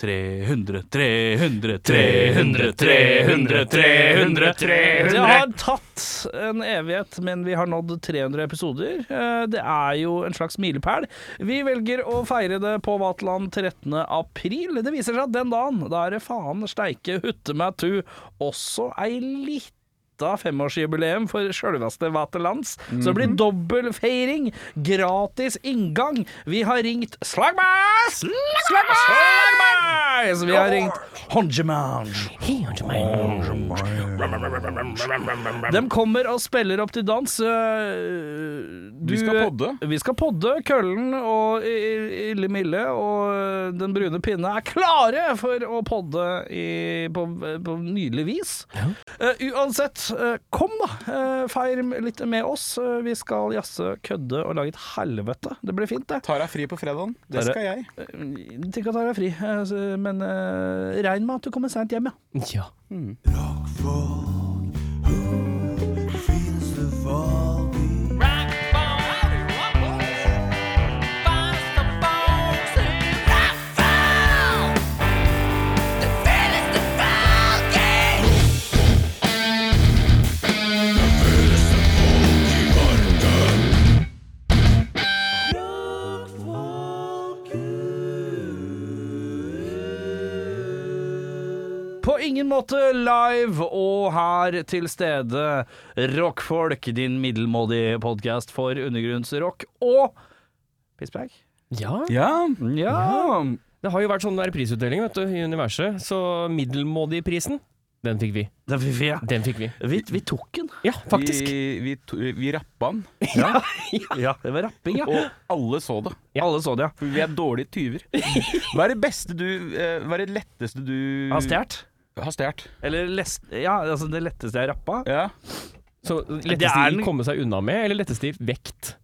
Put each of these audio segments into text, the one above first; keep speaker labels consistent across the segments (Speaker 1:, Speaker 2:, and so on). Speaker 1: 300, 300, 300, 300, 300, 300
Speaker 2: Det har tatt en evighet, men vi har nådd 300 episoder. Eh, Det er jo en slags milepæl. Vi velger å feire det på Vaterland 13. april. Det viser seg at den dagen, da er det faen steike hutte meg tu, også ei lita femårsjubileum for sjølveste Vaterlands. Så det blir dobbel feiring, gratis inngang. Vi har ringt Slagmas! Slagmas! Slagmas! Vi har ringt Honjemange. De kommer og spiller opp til dans. øh, du-
Speaker 3: Vi skal podde.
Speaker 2: Vi skal podde. Køllen og I- I- Ille Mille og øh, Den brune pinne er klare for å podde i, på, på nydelig vis. Eh, uansett, eh, kom da. eh, feir litt med oss. Eh, vi skal jazze, kødde og lage et helvete. Det blir fint, det.
Speaker 3: Tar deg fri på fredagen. Det
Speaker 2: Tar
Speaker 3: skal jeg.
Speaker 2: Eh, Tenk at jeg er fri, eh, så- men eh, regn med at du kommer seint hjem, ja.
Speaker 4: Ja.
Speaker 2: På ingen måte live og her til stede. Rockfolk, din middelmådige podkast for undergrunnsrock og pisspreik.
Speaker 4: ja.
Speaker 3: Ja.
Speaker 2: Ja.
Speaker 4: Det har jo vært sånn der prisutdeling vet du, i universet, så middelmådigprisen, den fikk vi.
Speaker 2: Det fikk vi, ja.
Speaker 4: Den fikk vi.
Speaker 2: Vi, vi tok den.
Speaker 4: Ja, faktisk.
Speaker 3: Vi, vi, to- vi rappa den,
Speaker 2: Ja, det var rapping, ja.
Speaker 3: og alle så det.
Speaker 2: Alle så det, ja.
Speaker 3: For vi er dårlige tyver. Hva er det beste du eh, Hva er det letteste du
Speaker 2: Har stjålet.
Speaker 3: Har stjert.
Speaker 2: Eller lest, ja, altså det letteste jeg rappa.
Speaker 3: Ja.
Speaker 4: Så
Speaker 2: Det
Speaker 4: letteste
Speaker 2: er
Speaker 4: i
Speaker 2: den-
Speaker 4: komme seg unna med, eller letteste i vekt?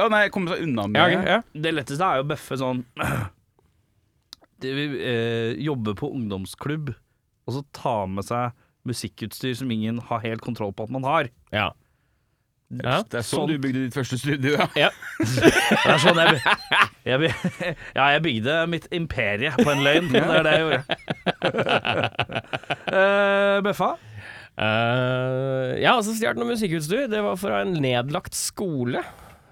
Speaker 3: Å nei, jeg kommer seg unna med
Speaker 4: Ja, ok, ja.
Speaker 2: Det letteste er jo å bøffe sånn det vil, eh, Jobbe på ungdomsklubb, og så ta med seg musikkutstyr som ingen har helt kontroll på at man har.
Speaker 4: ja. ja.
Speaker 3: Det er sånn,
Speaker 2: Sånn.
Speaker 3: du bygde ditt første studio, ja.
Speaker 2: Det er sånn jeg, by- jeg, by- ja, jeg bygde mitt imperie på en løgn. Det er det jeg gjorde. Eh, Bøffa?
Speaker 4: Eh, ja, altså stjålet noe musikkutstyr. Det var fra en nedlagt skole.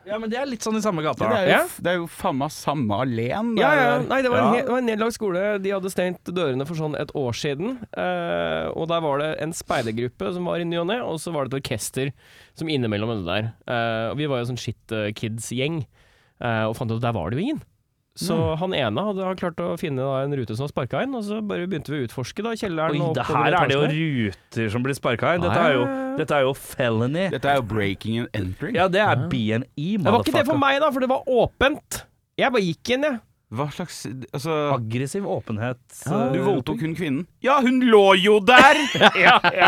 Speaker 2: Ja, men det er litt sånn i samme
Speaker 3: Det
Speaker 2: gata.
Speaker 3: er jo,
Speaker 4: Ja.
Speaker 3: det er jo faen meg samme alen. det
Speaker 4: Ja,
Speaker 3: er-
Speaker 4: ja. Nei, det var, en,
Speaker 2: Ja.
Speaker 4: he- det var en nedlagt skole. De hadde stengt dørene for sånn et år siden. eh, og der var det en speidergruppe som var i ny og ne, og så var det et orkester som innimellom øvde der. Eh, og vi var jo sånn shit eh, kids-gjeng, eh, og fant ut at der var det jo ingen. Så
Speaker 2: Mm.
Speaker 4: han ene hadde han klart å finne da, en rute som var sparka inn, og så bare begynte vi å utforske da, kjelleren.
Speaker 2: Oi,
Speaker 4: og
Speaker 2: det
Speaker 4: oppover
Speaker 2: her er det jo
Speaker 4: etasjene.
Speaker 2: ruter som blir sparka inn. Dette er jo, dette er jo felony.
Speaker 3: Dette er jo breaking and entering.
Speaker 2: Ja, det er BNI,
Speaker 4: Det var ikke det for
Speaker 2: motherfucker.
Speaker 4: meg, da, for det var åpent. Jeg bare gikk inn, jeg.
Speaker 3: Hva slags Altså
Speaker 2: Aggressiv åpenhet.
Speaker 3: Du
Speaker 2: eh,
Speaker 3: voldtok hun kvinnen. Ja, hun lå jo der!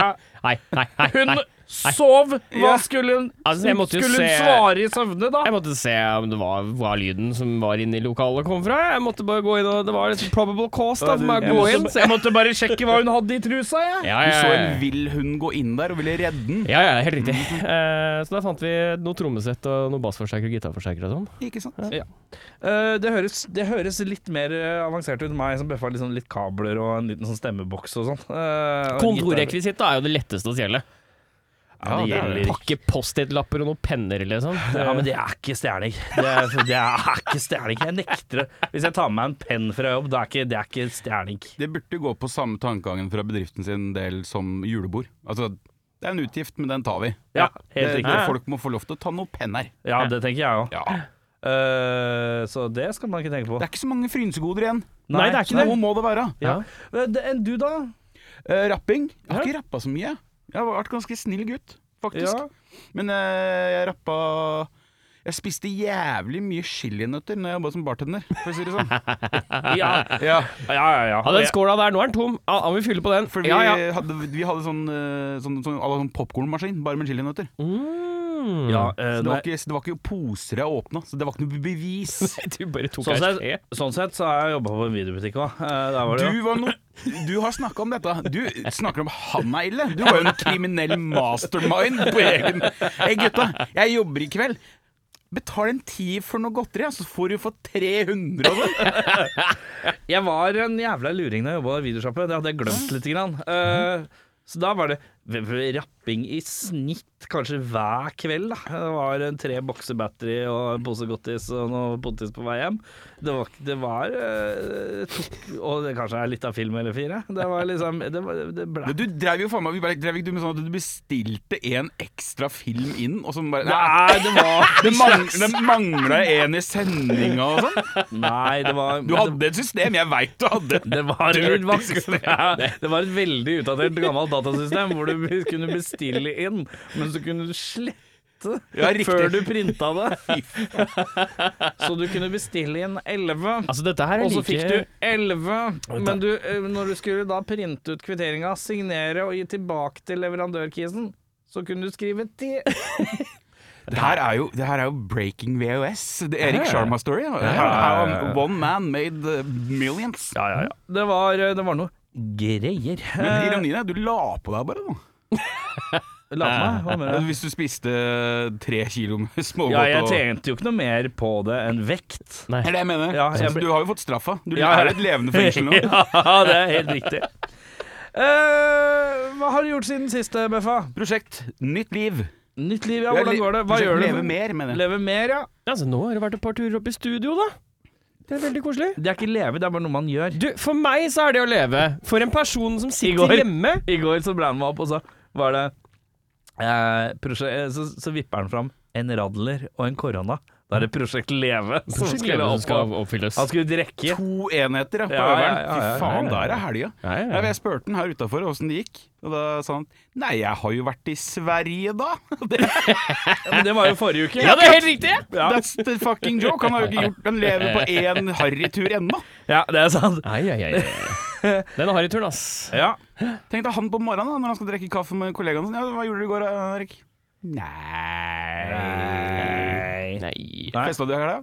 Speaker 4: Nei, nei, nei.
Speaker 2: Hun
Speaker 4: nei.
Speaker 2: sov! Hva
Speaker 3: Ja.
Speaker 2: skulle hun
Speaker 4: Altså, jeg måtte jo
Speaker 2: Skulle hun
Speaker 4: se-
Speaker 2: svare i søvne, da?
Speaker 4: Jeg måtte se om det var hva lyden som var inne i lokalet kom fra. Jeg måtte bare gå inn, og det var litt probable cause da, for meg å gå inn. Så jeg måtte
Speaker 2: bare sjekke hva hun hadde i trusa, jeg.
Speaker 4: ja,
Speaker 3: Du
Speaker 4: ja,
Speaker 3: så
Speaker 4: ja.
Speaker 3: en vill hund gå inn der og ville redde den.
Speaker 4: ja, ja, helt riktig. Eh, så da fant vi noe trommesett og noe bassforsterker og gitarforsterker og sånn.
Speaker 3: Ikke sant?
Speaker 2: Eh, det, høres, det høres litt mer eh, avansert ut enn meg, som bøffa litt, sånn, litt kabler og en liten sånn stemmeboks og sånn. Eh, og gitar.
Speaker 4: Kontorrekvisitt er jo det letteste å stjele.
Speaker 2: Ja, det
Speaker 3: Ja, det er
Speaker 2: gjelder
Speaker 3: det.
Speaker 2: ikke.
Speaker 4: Pakke Post-It-lapper og noen penner, liksom.
Speaker 2: Ja, men det er ikke stjerning. Det er, det er ikke stjerning. Jeg nekter det. Hvis jeg tar med meg en penn fra jobb, det er ikke, det er ikke stjerning.
Speaker 3: Det burde gå på samme tankegangen fra bedriften sin del som julebord. Altså, det er en utgift, men den tar vi.
Speaker 2: Ja, helt
Speaker 3: det,
Speaker 2: riktig.
Speaker 3: Folk må få lov til å ta noe penn her.
Speaker 2: Ja, det tenker jeg òg.
Speaker 3: Ja.
Speaker 2: så det skal man ikke tenke på.
Speaker 3: Det er ikke så mange frynsegoder igjen.
Speaker 4: Nei, det er ikke
Speaker 3: Nei,
Speaker 4: det.
Speaker 3: Hvor må det være?
Speaker 4: Ja.
Speaker 2: Eh, det- Enn du, da?
Speaker 3: Eh, rapping. Jeg har
Speaker 4: Ja.
Speaker 3: ikke rappa så mye. Jeg har vært ganske snill gutt, faktisk.
Speaker 2: Ja.
Speaker 3: Men eh, jeg rappa Jeg spiste jævlig mye chilinøtter når jeg jobba som bartender, for å si det sånn.
Speaker 2: Ja,
Speaker 3: Ja,
Speaker 2: ja, ja. ja.
Speaker 4: Ja, den skåla der, nå er den tom. Ja, da må vi fylle på den.
Speaker 3: for vi
Speaker 4: Ja, ja.
Speaker 3: hadde, vi hadde sånn, eh, sånn, sånn, à la sånn popkornmaskin, bare med chilinøtter.
Speaker 4: Mm.
Speaker 2: Ja, eh,
Speaker 3: Så det,
Speaker 2: nei.
Speaker 3: var ikke, det var ikke poser jeg åpna, så det var ikke noe bevis.
Speaker 4: Du bare tok
Speaker 2: Sånn
Speaker 4: ei
Speaker 2: sett,
Speaker 4: skje.
Speaker 2: sånn sett så har jeg jobba på en videobutikk Eh, òg.
Speaker 3: Du, var no, du har snakka om dette. Du snakker om han er ille. Du var jo en kriminell mastermind på egen Hei, gutta, jeg jobber i kveld. Betal en tier for noe godteri, ja, så får du for 300 av det.
Speaker 2: Jeg var en jævla luring da jeg jobba i videosjappe. Det hadde jeg glemt litt. Grann. Eh, så da var det v- v- rapping i snitt kanskje hver kveld. da Det var en tre bokser battery og en pose godtis og noe potetis på vei hjem. Det var, det var eh, tok, Og det kanskje er litt av film eller fire. Det var liksom Det, var, det ble
Speaker 3: Men du drev jo faen meg vi bare, drev ikke du med sånn at du bestilte en ekstra film inn, og så bare
Speaker 2: Nei, det var
Speaker 3: Det, mang, det mangla en i sendinga og sånn.
Speaker 2: Nei, det var
Speaker 3: Du hadde et system, jeg veit du hadde.
Speaker 2: Det var,
Speaker 3: Dirty
Speaker 2: et vanskelig, det var et veldig utdatert gammelt datasystem hvor du kunne bestille inn, men så kunne du slette
Speaker 3: Ja, riktig.
Speaker 2: før du printa det. Så du kunne bestille inn 11.
Speaker 4: Altså, dette her er
Speaker 2: Og så
Speaker 4: like
Speaker 2: fikk du 11, men du, eh, når du skulle da printe ut kvitteringa, signere og gi tilbake til leverandørkisen, så kunne du skrive 10.
Speaker 3: Det her er jo, det her er jo breaking VOS. Det er Erik Sharma-story. ja. Her
Speaker 2: ja,
Speaker 3: er jo One man made uh, millions.
Speaker 2: Det var, eh, det var noe greier.
Speaker 3: Men ironien er at du la på deg bare, da.
Speaker 2: Eh, La meg, hva mener du?
Speaker 3: Hvis du spiste tre kilo med smågodt
Speaker 2: Ja, jeg
Speaker 3: og
Speaker 2: tjente jo ikke noe mer på det enn vekt.
Speaker 4: Nei.
Speaker 3: Det er det jeg mener.
Speaker 2: Ja, jeg
Speaker 3: Så
Speaker 2: ble-
Speaker 3: Du har jo fått straffa. Du
Speaker 2: Ja,
Speaker 3: er
Speaker 2: ja.
Speaker 3: et levende fengsel nå.
Speaker 2: ja, det er helt riktig. Eh, hva har du gjort siden siste, Beffa?
Speaker 3: Prosjekt Nytt liv.
Speaker 2: Nytt liv, ja. Hvordan går det? Hva gjør du?
Speaker 3: Leve mer, mener jeg.
Speaker 2: Leve mer, ja.
Speaker 4: Altså, nå har det vært et par turer opp i studio, da. Det er veldig koselig.
Speaker 2: Det er ikke leve, det er bare noe man gjør.
Speaker 4: Du, for meg så er det å leve. For en person som sitter
Speaker 2: går.
Speaker 4: hjemme
Speaker 2: I går så ble han med opp, og så var det eh, prosje- eh, så, så vipper han fram en radler og en korona. Da er det Prosjekt Leve som
Speaker 4: Prosjekt
Speaker 2: skulle
Speaker 4: Leve som
Speaker 2: opp.
Speaker 4: skal oppfylles.
Speaker 2: Han skulle drikke.
Speaker 3: To enheter ja, på
Speaker 2: Ja, ja,
Speaker 3: øveren.
Speaker 2: ja, ja,
Speaker 3: Fy faen,
Speaker 2: ja, ja.
Speaker 3: der er helga.
Speaker 4: Ja, ja, ja.
Speaker 3: Ja, men Jeg spurte han her utafor åssen det gikk, og da sa han Nei, jeg har jo vært i Sverige, da. Det,
Speaker 2: Ja, men det var jo forrige uke.
Speaker 4: Ja, det er helt riktig!
Speaker 3: That's the fucking joke. Han har jo ikke gjort Han lever på én harrytur ennå.
Speaker 2: Ja, det er sant.
Speaker 4: Ai, ai, ai. ai. Den har i turen, ass.
Speaker 2: Ja.
Speaker 3: Tenk deg han på morgenen da, når han skal drikke kaffe med kollegaen sin. Ja, hva gjorde du i går, eh, Erik? Nei
Speaker 4: Nei.
Speaker 3: Festa du i helga?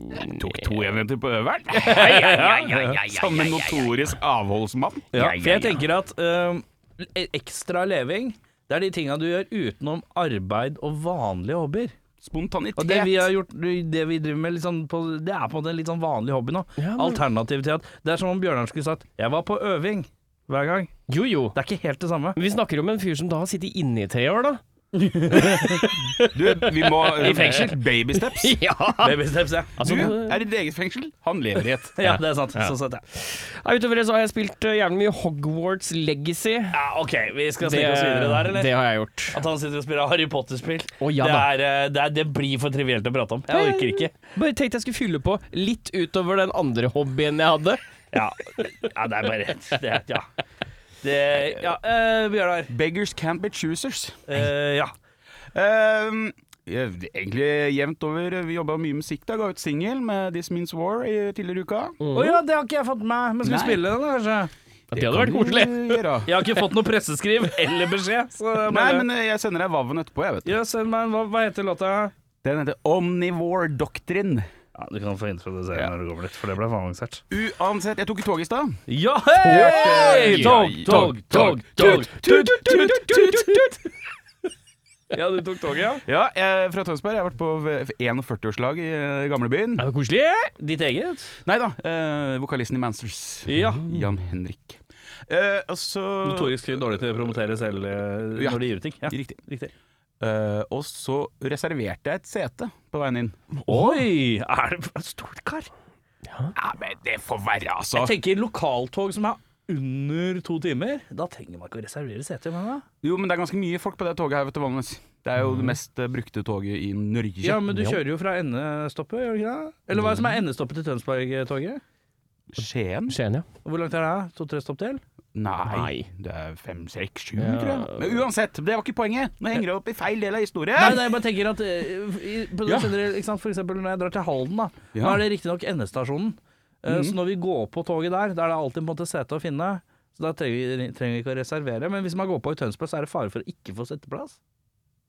Speaker 3: Jeg Tok to enheter på øveren. Som en notorisk avholdsmann.
Speaker 2: Ja, for jeg tenker at øhm, e- ekstra leving, det er de tinga du gjør utenom arbeid og vanlige hobbyer.
Speaker 3: Spontanitet.
Speaker 2: Og det vi har gjort, det vi driver med litt sånn på, det er på en måte en litt sånn vanlig hobby nå.
Speaker 4: Ja, men-
Speaker 2: Alternativ til at det er som om Bjørnar skulle sagt 'jeg var på øving' hver gang.
Speaker 4: Jo, jo.
Speaker 2: Det er ikke helt det samme.
Speaker 4: Men Vi snakker om en fyr som da har sittet inne i tre år, da.
Speaker 3: Du, vi må eh,
Speaker 4: I fengsel.
Speaker 3: Baby steps.
Speaker 4: Ja!
Speaker 2: Babysteps, ja.
Speaker 4: Altså,
Speaker 3: Du
Speaker 4: nå-
Speaker 3: er i ditt eget fengsel, han lever i et.
Speaker 2: Ja, det er sant. Så søtt, ja.
Speaker 4: ja, utover det så har jeg spilt eh, jævlig mye Hogwarts Legacy.
Speaker 2: ja. OK, vi skal snike oss videre der, eller?
Speaker 4: det har jeg gjort.
Speaker 2: At han sitter og spiller Harry Potter-spill.
Speaker 4: Å, ja
Speaker 2: det,
Speaker 4: da.
Speaker 2: er, eh, det, er, det blir for trivielt å prate om. Jeg orker ikke.
Speaker 4: Bare tenkte jeg skulle fylle på litt utover den andre hobbyen jeg hadde.
Speaker 2: Ja, ja det er bare det, er- Ja, det, ja eh, Bjørnar.
Speaker 3: Beggars can't be choosers.
Speaker 2: Eh, ja.
Speaker 3: Ehm, ja, det er egentlig jevnt over. Vi jobba mye musikk da. Ga ut singel med This Means War i tidligere i uka.
Speaker 2: Å ja, det har ikke jeg fått med meg. Men skal vi
Speaker 3: Nei.
Speaker 2: spille den, da, kanskje?
Speaker 4: Det hadde vært koselig.
Speaker 2: Jeg har ikke fått noe presseskriv eller beskjed. Så jeg
Speaker 3: Nei,
Speaker 2: bare,
Speaker 3: men eh, jeg sender deg Vaven etterpå, jeg, vet du.
Speaker 2: ja, send meg en hva, hva heter låta?
Speaker 3: Den heter Omnivore Doctrine.
Speaker 2: Ja, Du kan få introdusere
Speaker 3: Ja.
Speaker 2: når du kommer litt, for det ble for avansert.
Speaker 3: Uansett, jeg tok i tog i stad.
Speaker 2: Ja, hei! Tog, tog, tog, tog, tut, tut, tut, tut. Ja, du tok toget, ja?
Speaker 3: Ja, jeg er fra Tønsberg. Jeg har vært på v- 41-årslag i eh, gamlebyen.
Speaker 4: Det var koselig.
Speaker 2: Ditt eget?
Speaker 3: Nei da, eh, vokalisten i Mansers.
Speaker 2: Ja.
Speaker 3: Jan Henrik. Eh, og så-
Speaker 2: Notorisk dårlig til å promotere selv eh,
Speaker 3: Ja.
Speaker 2: når de gir ut ting. Ja,
Speaker 3: Riktig.
Speaker 2: riktig.
Speaker 3: Eh, og så reserverte jeg et sete på veien inn.
Speaker 2: Oi! Er det stort kar?
Speaker 3: Ja, men det får være, altså.
Speaker 2: Jeg tenker lokaltog som er under to timer. Da trenger man ikke å reservere sete. Men da.
Speaker 3: Jo, men det er ganske mye folk på det toget her, vet du, vanligvis. Det er jo det mest eh, brukte toget i Norge.
Speaker 2: Mm. Ja, men du kjører jo fra endestoppet, gjør du ikke det? Eller hva er det som er endestoppet til Tønsberg-toget?
Speaker 3: Skien?
Speaker 4: Skien, ja.
Speaker 2: Hvor langt er det? To-tre stopp til?
Speaker 3: Nei.
Speaker 4: Nei.
Speaker 3: Det er fem, seks, sju,
Speaker 4: Ja.
Speaker 3: tror jeg. Men uansett, det var ikke poenget. Nå henger jeg opp i feil del av historien.
Speaker 2: Nei, nei, jeg bare tenker at eh, i- på det
Speaker 3: Ja.
Speaker 2: generelle, ikke sant? For eksempel når jeg drar til Halden, da.
Speaker 3: Ja.
Speaker 2: Nå er det riktignok endestasjonen. Eh, Så når vi går på toget der, da er det alltid på en måte sete å finne. Så da trenger vi, trenger vi ikke å reservere. Men hvis man går på i Tønsberg, så er det fare for å ikke få setteplass.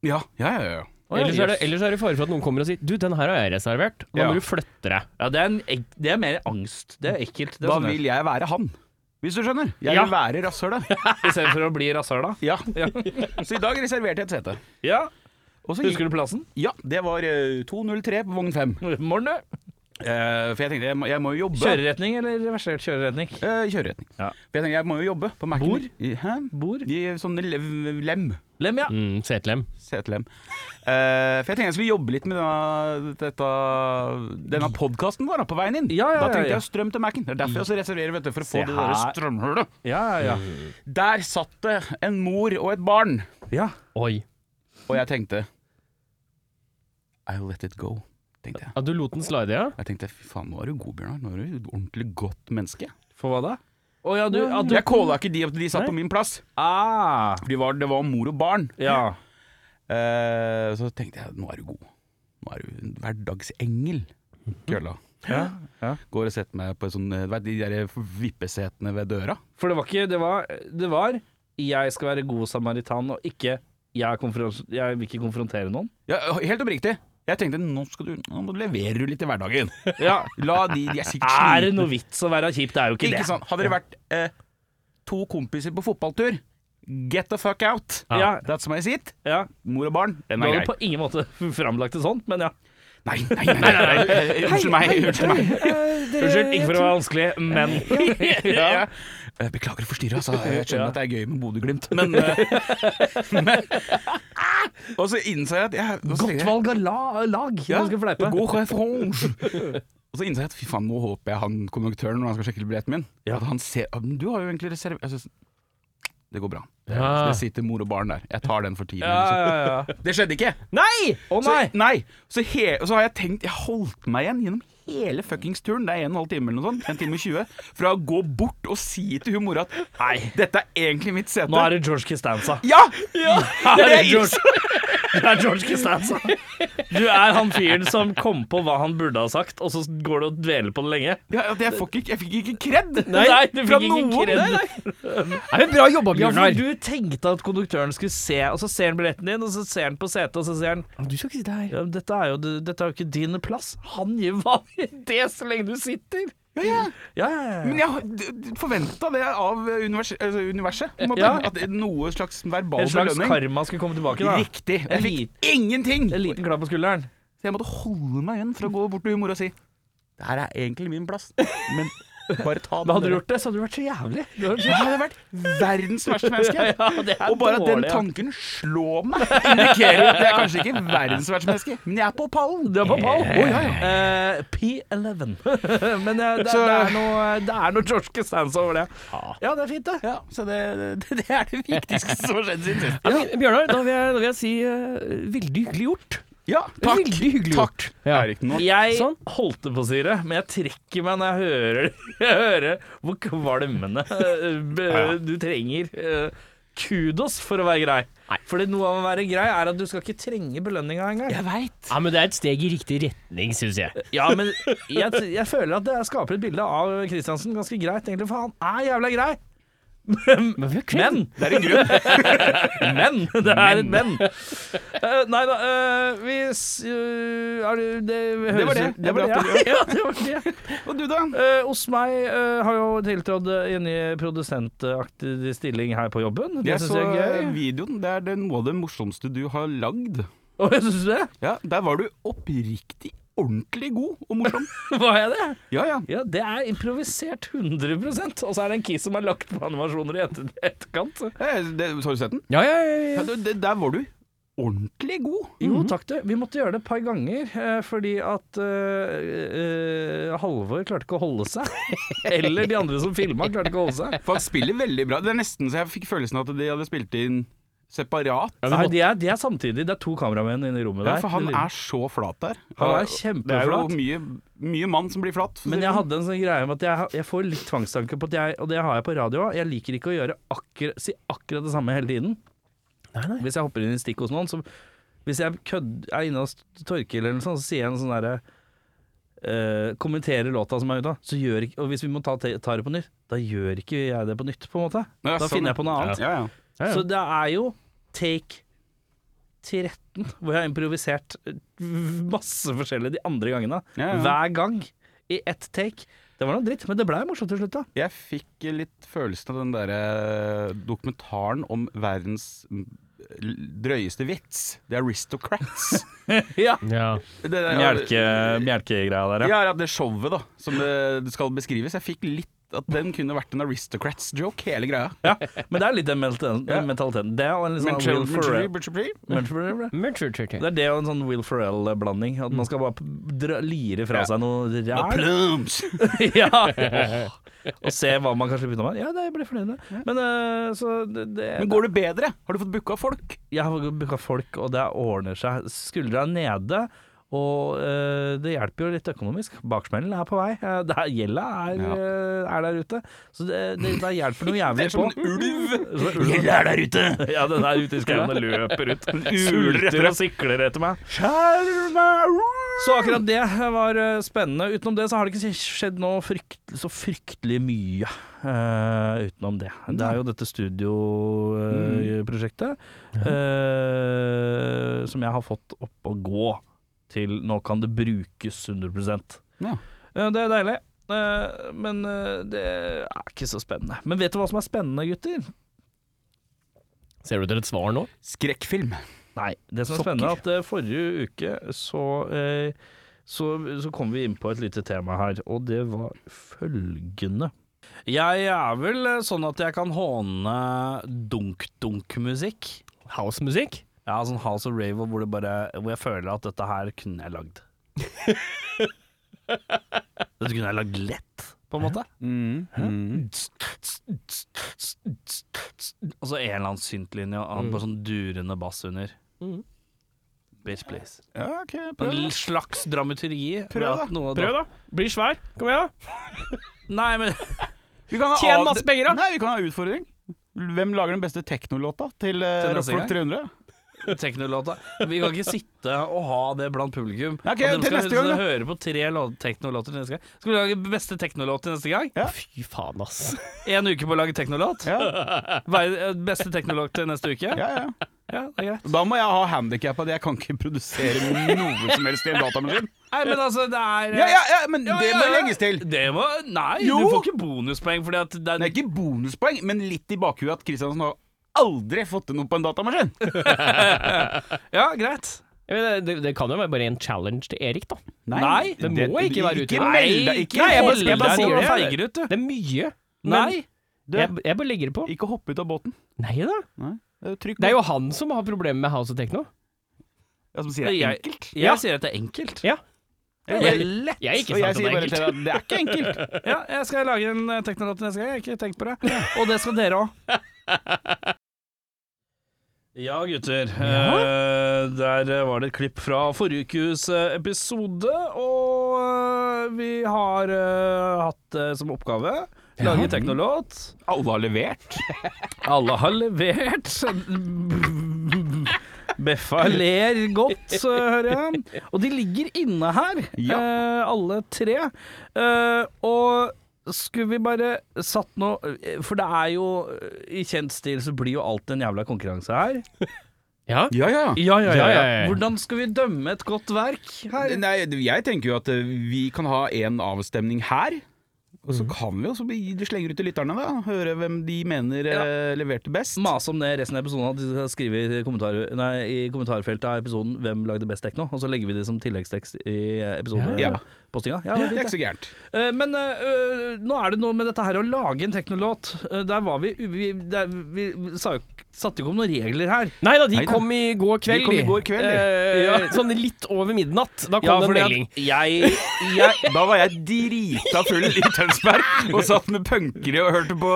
Speaker 3: Ja, ja, ja. ja.
Speaker 2: Å, ja,
Speaker 4: Ellers er, det,
Speaker 2: jøss.
Speaker 4: ellers er det fare for at noen kommer og sier 'du, den her har jeg reservert'. Da
Speaker 3: Ja.
Speaker 4: må du flytte deg.
Speaker 2: ja, det, er en, ek- det er mer angst. Det er ekkelt. Det er
Speaker 3: Da
Speaker 2: sånn jeg-
Speaker 3: vil jeg være han. Hvis du skjønner. Jeg
Speaker 4: Ja.
Speaker 3: vil være rasshølet.
Speaker 2: Istedenfor å bli rasshøla.
Speaker 3: Ja.
Speaker 2: Ja.
Speaker 3: Så i dag reserverte jeg et sete.
Speaker 2: ja.
Speaker 3: Og så
Speaker 2: Husker
Speaker 3: gikk,
Speaker 2: du plassen?
Speaker 3: ja, det var eh, 203 på vogn 5.
Speaker 2: Morgen, du.
Speaker 3: for jeg tenkte jeg må, jeg må jo jobbe.
Speaker 2: Kjøreretning eller reversert kjøreretning?
Speaker 3: Eh, kjøreretning.
Speaker 2: Ja.
Speaker 3: For jeg tenkte jeg må jo jobbe på Mac-en.
Speaker 2: Bor?
Speaker 3: min. I- Hæ?
Speaker 2: Bor?
Speaker 3: I sånne lev- lem.
Speaker 2: Lem, ja.
Speaker 4: Mm, Setlem.
Speaker 3: CTLM. Eh, for jeg tenkte jeg skulle jobbe litt med denne, dette, denne podkasten vår da, på veien inn.
Speaker 2: Ja, ja,
Speaker 3: da
Speaker 2: ja,
Speaker 3: trengte
Speaker 2: ja.
Speaker 3: jeg strøm til Mac-en. Det er derfor jeg også reserverer, vet du, for å
Speaker 2: Se
Speaker 3: få det der
Speaker 2: her.
Speaker 3: strømhullet.
Speaker 2: Ja, ja,
Speaker 3: Der satt det en mor og et barn,
Speaker 2: ja. ja.
Speaker 4: Oi.
Speaker 3: og jeg tenkte I'll let it go, tenkte jeg.
Speaker 4: Ja, du lot den slide, ja?
Speaker 3: Jeg tenkte fy faen, nå er du god, Bjørnar. Nå er du et ordentlig godt menneske.
Speaker 2: For hva da? Å ja, du, ja, du
Speaker 3: Jeg calla ikke de at de satt på min plass,
Speaker 2: ah,
Speaker 3: for de var, det var mor og barn.
Speaker 2: Ja.
Speaker 3: Eh, så tenkte jeg nå er du god. Nå er du en hverdagsengel. Kølla.
Speaker 2: Mhm. ja. ja.
Speaker 3: Går og setter meg på en sånn eh, vet, du, de der vippesetene ved døra.
Speaker 2: For det var ikke Det var, det var 'jeg skal være god samaritan', og ikke jeg, konfron- 'jeg vil ikke konfrontere noen'.
Speaker 3: Ja, helt oppriktig. Jeg tenkte nå, skal du, nå må du levere litt i hverdagen.
Speaker 2: Ja.
Speaker 3: La de, de er sikkert
Speaker 2: Er det
Speaker 3: slitne.
Speaker 2: noe vits å være kjip? Det er jo ikke, sånn.
Speaker 3: Ikke
Speaker 2: det.
Speaker 3: sant? Hadde det vært eh, to kompiser på fotballtur Get the fuck out!
Speaker 2: Ja.
Speaker 3: That's my seat.
Speaker 2: Ja.
Speaker 3: Mor og barn, den
Speaker 2: Du
Speaker 3: er
Speaker 2: hadde
Speaker 3: grei.
Speaker 2: på ingen måte framlagt det sånn, men ja.
Speaker 3: Nei, nei, nei, nei, nei, nei. Unnskyld meg. Unnskyld meg.
Speaker 2: Unnskyld, ikke for å være vanskelig, men
Speaker 3: Ja. Eh, Beklager å forstyrre, altså. Jeg skjønner
Speaker 2: Ja.
Speaker 3: at det er gøy med Bodø-Glimt, men, eh, men Ah! Og så innså jeg at jeg, og så
Speaker 2: Godt
Speaker 3: tenkte jeg-
Speaker 2: valg av la, lag. Ja. Skal fleipe.
Speaker 3: God referanse. Og så innså jeg at fy faen, nå håper jeg han konduktøren når han skal sjekke billetten min
Speaker 2: Ja.
Speaker 3: At han ser «Ah, men Du har jo egentlig reserve... Jeg synes, det går bra. Det,
Speaker 4: Ja.
Speaker 3: det sitter mor og barn der. Jeg tar den for tidlig.
Speaker 2: Ah. Ja,
Speaker 3: liksom.
Speaker 2: ja, ja.
Speaker 3: Det skjedde ikke!
Speaker 2: Nei! Å nei!
Speaker 3: Så, nei. Så, he, og så har jeg tenkt Jeg holdt meg igjen gjennom hele fuckings turen. Det er en og en halv time eller noe sånt. En time og 20. Fra å gå bort og si til hun mora at Nei, dette er egentlig mitt sete.
Speaker 2: Nå er det George Costanza.
Speaker 3: ja! Det er det jeg innså.
Speaker 2: George, det er George Costanza. Du er han fyren som kom på hva han burde ha sagt, og så går du og dveler på det lenge.
Speaker 3: Ja, at jeg, får ikke, jeg fikk ikke kred!
Speaker 2: Nei, du fikk
Speaker 3: fra
Speaker 2: ikke
Speaker 3: noen.
Speaker 2: kred.
Speaker 3: Nei, nei.
Speaker 4: Nei, men bra jobba,
Speaker 2: Ja, for
Speaker 4: Bjørnar.
Speaker 2: du tenkte at konduktøren skulle se, og så ser han billetten din, og så ser han på setet, og så sier han
Speaker 4: Du skal ikke sitte her.
Speaker 2: ja, men dette, er jo, dette er jo ikke din plass. Han gir vanlig det så lenge du sitter.
Speaker 3: Ja, ja.
Speaker 2: Ja, ja, ja.
Speaker 3: Men jeg forventa det av univers, altså universet. På en måte.
Speaker 2: Ja.
Speaker 3: At noe slags verbal
Speaker 2: En slags
Speaker 3: belønning.
Speaker 2: karma skulle komme tilbake, da.
Speaker 3: Riktig. Jeg
Speaker 2: En
Speaker 3: fikk ingenting!
Speaker 2: En liten klapp på skulderen.
Speaker 3: Så jeg måtte holde meg igjen for å gå bort til mora og si Det her er egentlig min plass, men bare ta
Speaker 2: Men
Speaker 3: den.
Speaker 2: hadde du
Speaker 3: dere."
Speaker 2: gjort det, så hadde du vært så jævlig. Du hadde vært
Speaker 3: Jeg hadde vært verdens verste
Speaker 2: så-
Speaker 3: menneske.
Speaker 2: Ja, det er
Speaker 3: Og bare at den
Speaker 2: dårlig, ja.
Speaker 3: tanken slår meg, indikerer at jeg er kanskje ikke verdens verste menneske, men jeg er på pallen.
Speaker 2: Du er på ball.
Speaker 3: Å, ja, ja.
Speaker 2: Eh, P11. Men eh, det,
Speaker 3: Så-
Speaker 2: det, er noe, det er noe George Costanza over det. Ja, det er fint, det.
Speaker 3: ja, så det, det, det er det viktigste som har skjedd siden sist.
Speaker 4: Ja, men Bjørnar, da vil jeg, da vil jeg si eh, veldig hyggelig gjort.
Speaker 3: Ja, takk.
Speaker 4: Veldig hyggelig
Speaker 3: Takk.
Speaker 4: gjort. Ja.
Speaker 3: Erik, nå
Speaker 2: Jeg
Speaker 4: Sånn.
Speaker 2: holdt det på å si det, men jeg trekker meg når jeg hører, jeg hører hvor kvalmende eh, b- du trenger eh, kudos for å være grei. Fordi noe av å være grei er at du skal ikke trenge belønninga engang.
Speaker 3: Jeg veit.
Speaker 4: Ja, men det er et steg i riktig retning, syns jeg.
Speaker 2: Ja, men jeg, jeg føler at det skaper et bilde av Kristiansen ganske greit, egentlig, for han er jævla grei.
Speaker 4: Men, vi har kledd.
Speaker 2: Men
Speaker 3: Det er en grunn.
Speaker 2: Men! Det er et men. Eh, nei da, eh, vi s- eh, er det, det, høres,
Speaker 3: var det.
Speaker 2: Det var det, ja.
Speaker 3: Det var
Speaker 2: ja det var det.
Speaker 3: Og du, da?
Speaker 2: Eh, hos meg eh, har jo tiltrådt eh, en ny produsentaktig stilling her på jobben. Det
Speaker 3: Jeg
Speaker 2: syns
Speaker 3: så eh,
Speaker 2: jeg er gøy.
Speaker 3: videoen. Det er det- noe av det morsomste du har lagd.
Speaker 2: Og jeg syns det.
Speaker 3: Ja, Der var du oppriktig ordentlig god og morsom.
Speaker 2: Var jeg det?
Speaker 3: Ja, ja.
Speaker 2: Ja, det er improvisert 100 Og så er det en kis som er lagt på animasjoner i etter, etterkant.
Speaker 3: Eh, Det, så har du sett den?
Speaker 4: Ja, ja, ja, ja.
Speaker 3: Ja, det, det, der var du ordentlig god.
Speaker 2: Jo, takk du. Vi måtte gjøre det et par ganger, eh, fordi at eh, eh, Halvor klarte ikke å holde seg. Eller de andre som filma, klarte ikke å holde seg.
Speaker 3: For han spiller veldig bra. Det er nesten så jeg fikk følelsen av at de hadde spilt inn separat.
Speaker 4: Ja, vi
Speaker 2: Nei,
Speaker 4: måtte-
Speaker 2: de er, de er samtidig. Det er to kameramenn inne i rommet
Speaker 3: Ja,
Speaker 2: der.
Speaker 3: for han
Speaker 2: Det lille-
Speaker 3: er så flat der.
Speaker 2: Han er
Speaker 3: Det er jo
Speaker 2: kjempeflat.
Speaker 3: mye, mye mann som blir flat.
Speaker 2: Men jeg hadde en sånn greie om at jeg, jeg får litt tvangstanker på at jeg, og det har jeg på radio òg, jeg liker ikke å gjøre akkur, si akkurat det samme hele tiden.
Speaker 4: Nei, nei.
Speaker 2: Hvis jeg hopper inn i stikk hos noen, så hvis jeg kødd, er inne hos Torkil eller noe sånt, så sier jeg en sånn derre eh, kommenterer låta som er ute, så gjør ikke, og hvis vi må ta, ta det på nytt, da gjør ikke jeg det på nytt, på en måte.
Speaker 3: Ja,
Speaker 2: Da
Speaker 3: sånn.
Speaker 2: finner jeg på noe annet.
Speaker 3: Ja, ja.
Speaker 4: Ja, ja.
Speaker 2: Så det er jo take 13, hvor jeg har improvisert eh, masse forskjellig de andre gangene.
Speaker 3: Ja, ja.
Speaker 2: Hver gang i ett take. Det var noe dritt, men det blei morsomt til slutt, da.
Speaker 3: Jeg fikk litt følelsen av den derre dokumentaren om eh, verdens drøyeste vits. Det er Aristocrats.
Speaker 2: Ja.
Speaker 4: Ja.
Speaker 3: Det der-
Speaker 1: Mjelke, mjelkegreia der, ja.
Speaker 3: Ja, ja, det showet da som det, det skal beskrives. Jeg fikk litt at den kunne vært en Aristocrats-joke, hele greia.
Speaker 2: ja. Men det er litt den menta-
Speaker 3: Ja.
Speaker 2: mentaliteten. Det er jo en litt
Speaker 3: Men
Speaker 2: sånn Will Ferrell- Men-
Speaker 4: Murder-tricker.
Speaker 2: Det er det og en sånn Will Ferrell-blanding. At man skal bare p- dra, lire fra
Speaker 3: Ja.
Speaker 2: seg noe ræl.
Speaker 3: Plums!
Speaker 2: ja. Og se hva man kan slippe unna med. Ja, det jeg ble fornøyd med. Men eh, så det, det
Speaker 3: Men går det bedre? Har du fått booka folk?
Speaker 2: Jeg har booka folk, og det ordner seg. Skuldra er nede. Og eh, det hjelper jo litt økonomisk. Baksmellen er på vei. Eh, det er- Gjelda er,
Speaker 3: Ja.
Speaker 2: eh, er der ute. Så det, det, det hjelper noe
Speaker 3: Det er
Speaker 2: jævlig
Speaker 3: som
Speaker 2: på.
Speaker 3: en ulv!
Speaker 2: Gjelda er der ute! ja, den er ute i skauen og løper ut. Sulter og sikler etter meg. Så akkurat det var eh, spennende. Utenom det så har det ikke skjedd noe frykt, så fryktelig mye. eh, utenom det. Det er jo dette studioprosjektet eh, som jeg har fått opp å gå til nå kan det brukes 100
Speaker 3: Ja.
Speaker 2: Eh, Det er deilig. Eh, Men eh, det er ikke så spennende. Men vet du hva som er spennende, gutter?
Speaker 4: Ser du etter et svar nå?
Speaker 3: Skrekkfilm.
Speaker 2: Nei, det som er
Speaker 3: Sokker.
Speaker 2: spennende er at eh, forrige uke så, eh, så, så kom vi inn på et lite tema her, og det var følgende. Jeg er vel eh, sånn at jeg kan håne dunk-dunk-musikk.
Speaker 4: Housemusikk?
Speaker 2: Ja, sånn House of Rave hvor, det bare, hvor jeg føler at dette her kunne jeg lagd. dette kunne jeg lagd lett, på en måte.
Speaker 3: Mm,
Speaker 2: Og så Altså en eller annen syntlinje og han bare sånn durende bass under.
Speaker 4: Mhm.
Speaker 2: Bitch, please.
Speaker 3: Ja, ok, prøv.
Speaker 2: En slags dramaturgi.
Speaker 3: Prøv da.
Speaker 4: Prøv, da. Bli svær. Kom igjen, da.
Speaker 2: Nei, men
Speaker 3: Vi kan ha
Speaker 4: Tjen
Speaker 3: av-
Speaker 4: masse penger, da.
Speaker 3: Nei, vi kan ha utfordring. Hvem lager den beste teknolåta til
Speaker 2: Til
Speaker 3: uh,
Speaker 2: neste
Speaker 3: Rockfolk 300?
Speaker 2: Teknolåta. Vi kan ikke sitte og ha det blant publikum.
Speaker 3: Ok,
Speaker 2: Og de
Speaker 3: til
Speaker 2: skal
Speaker 3: neste gang, da.
Speaker 2: høre på tre lå- teknolåter til neste gang. Skal vi lage beste teknolåt til neste gang?
Speaker 3: Ja.
Speaker 4: Fy faen, ass.
Speaker 2: Én uke på å lage teknolåt?
Speaker 3: Ja,
Speaker 2: Hver- Beste teknolog til neste uke?
Speaker 3: ja, ja.
Speaker 2: Ja, det er greit.
Speaker 3: Da må jeg ha handikap at jeg kan ikke produsere noe som helst i en datamaskin.
Speaker 2: Nei, men altså, det er
Speaker 3: Ja, ja, ja, men
Speaker 2: Ja,
Speaker 3: det
Speaker 2: ja,
Speaker 3: må
Speaker 2: ja.
Speaker 3: legges til.
Speaker 2: Det må Nei,
Speaker 3: Jo.
Speaker 2: du får ikke bonuspoeng fordi at det
Speaker 3: Det er
Speaker 2: er
Speaker 3: ikke bonuspoeng, men litt i bakhuet at Kristiansen har aldri fått til noe på en datamaskin.
Speaker 2: Ja, greit.
Speaker 4: Ja, men det, det, det kan jo være bare en challenge til Erik, da.
Speaker 2: Nei,
Speaker 4: det må ikke være ute.
Speaker 3: Ikke meld
Speaker 2: Nei,
Speaker 3: deg ikke,
Speaker 2: nei, jeg bare,
Speaker 3: hold
Speaker 2: jeg bare
Speaker 3: deg
Speaker 2: sier
Speaker 3: nede.
Speaker 2: det. Feiger ut, du.
Speaker 4: Det er mye.
Speaker 2: Nei.
Speaker 3: Du,
Speaker 4: Jeg, jeg bare legger det på.
Speaker 3: Ikke hopp ut av båten.
Speaker 4: Nei da.
Speaker 3: Nei. Det er jo Trykk
Speaker 4: Det er jo han som har problemer med house og techno.
Speaker 3: Ja, som sier det er
Speaker 2: Jeg-
Speaker 3: enkelt.
Speaker 2: Jeg
Speaker 4: Ja.
Speaker 2: sier at det er enkelt.
Speaker 4: Ja.
Speaker 2: Det er lett.
Speaker 4: Jeg er ikke
Speaker 3: Og jeg
Speaker 4: sagt at
Speaker 3: sier
Speaker 4: det er
Speaker 3: bare til deg at
Speaker 4: enkelt.
Speaker 3: det er ikke enkelt.
Speaker 2: Ja, jeg skal lage en eh, teknolåt til neste gang. Jeg har ikke tenkt på det. Og det skal dere òg. Ja, gutter. Eh, der eh, var det et klipp fra forrige ukes eh, episode. Og eh, vi har eh, hatt det som oppgave. Lage teknolåt.
Speaker 3: Alle har levert.
Speaker 2: Alle har levert. Beffa ler godt, så hører jeg. Og de ligger inne her, eh, alle tre. Eh, og skulle vi bare satt noe For det er jo I kjent stil så blir jo alt en jævla konkurranse her.
Speaker 4: Ja.
Speaker 3: Ja, ja.
Speaker 2: Ja, ja,
Speaker 4: ja, ja.
Speaker 2: Hvordan skal vi dømme et godt verk her?
Speaker 3: Nei, jeg tenker jo at eh, vi kan ha en avstemning her. Og så kan vi jo så gi- slenge ut til lytterne, da. Høre hvem de mener eh, leverte best.
Speaker 2: Mase om det resten av episoden, at de skal skrive i, kommentar, nei, i kommentarfeltet av episoden 'Hvem lagde best tekno?' Og så legger vi det som tilleggstekst i episoden.
Speaker 3: Ja.
Speaker 2: eller Postinga. Ja,
Speaker 3: Det
Speaker 2: det er fint,
Speaker 3: er
Speaker 2: det.
Speaker 3: ikke så gærent.
Speaker 2: Eh, Men eh, eh, nå er det noe med dette her å lage en teknolåt. Eh, der var vi Vi, der, vi sa, jo ikke- satte jo ikke opp noen regler her.
Speaker 4: Nei da, de
Speaker 3: Neida.
Speaker 4: kom i går kveld.
Speaker 3: De kom i går kveld, de.
Speaker 4: Eh,
Speaker 2: Ja.
Speaker 4: Sånn litt over midnatt. Da kom det en melding.
Speaker 2: jeg, jeg
Speaker 3: Da var jeg drita full i Tønsberg og satt med punkere og hørte på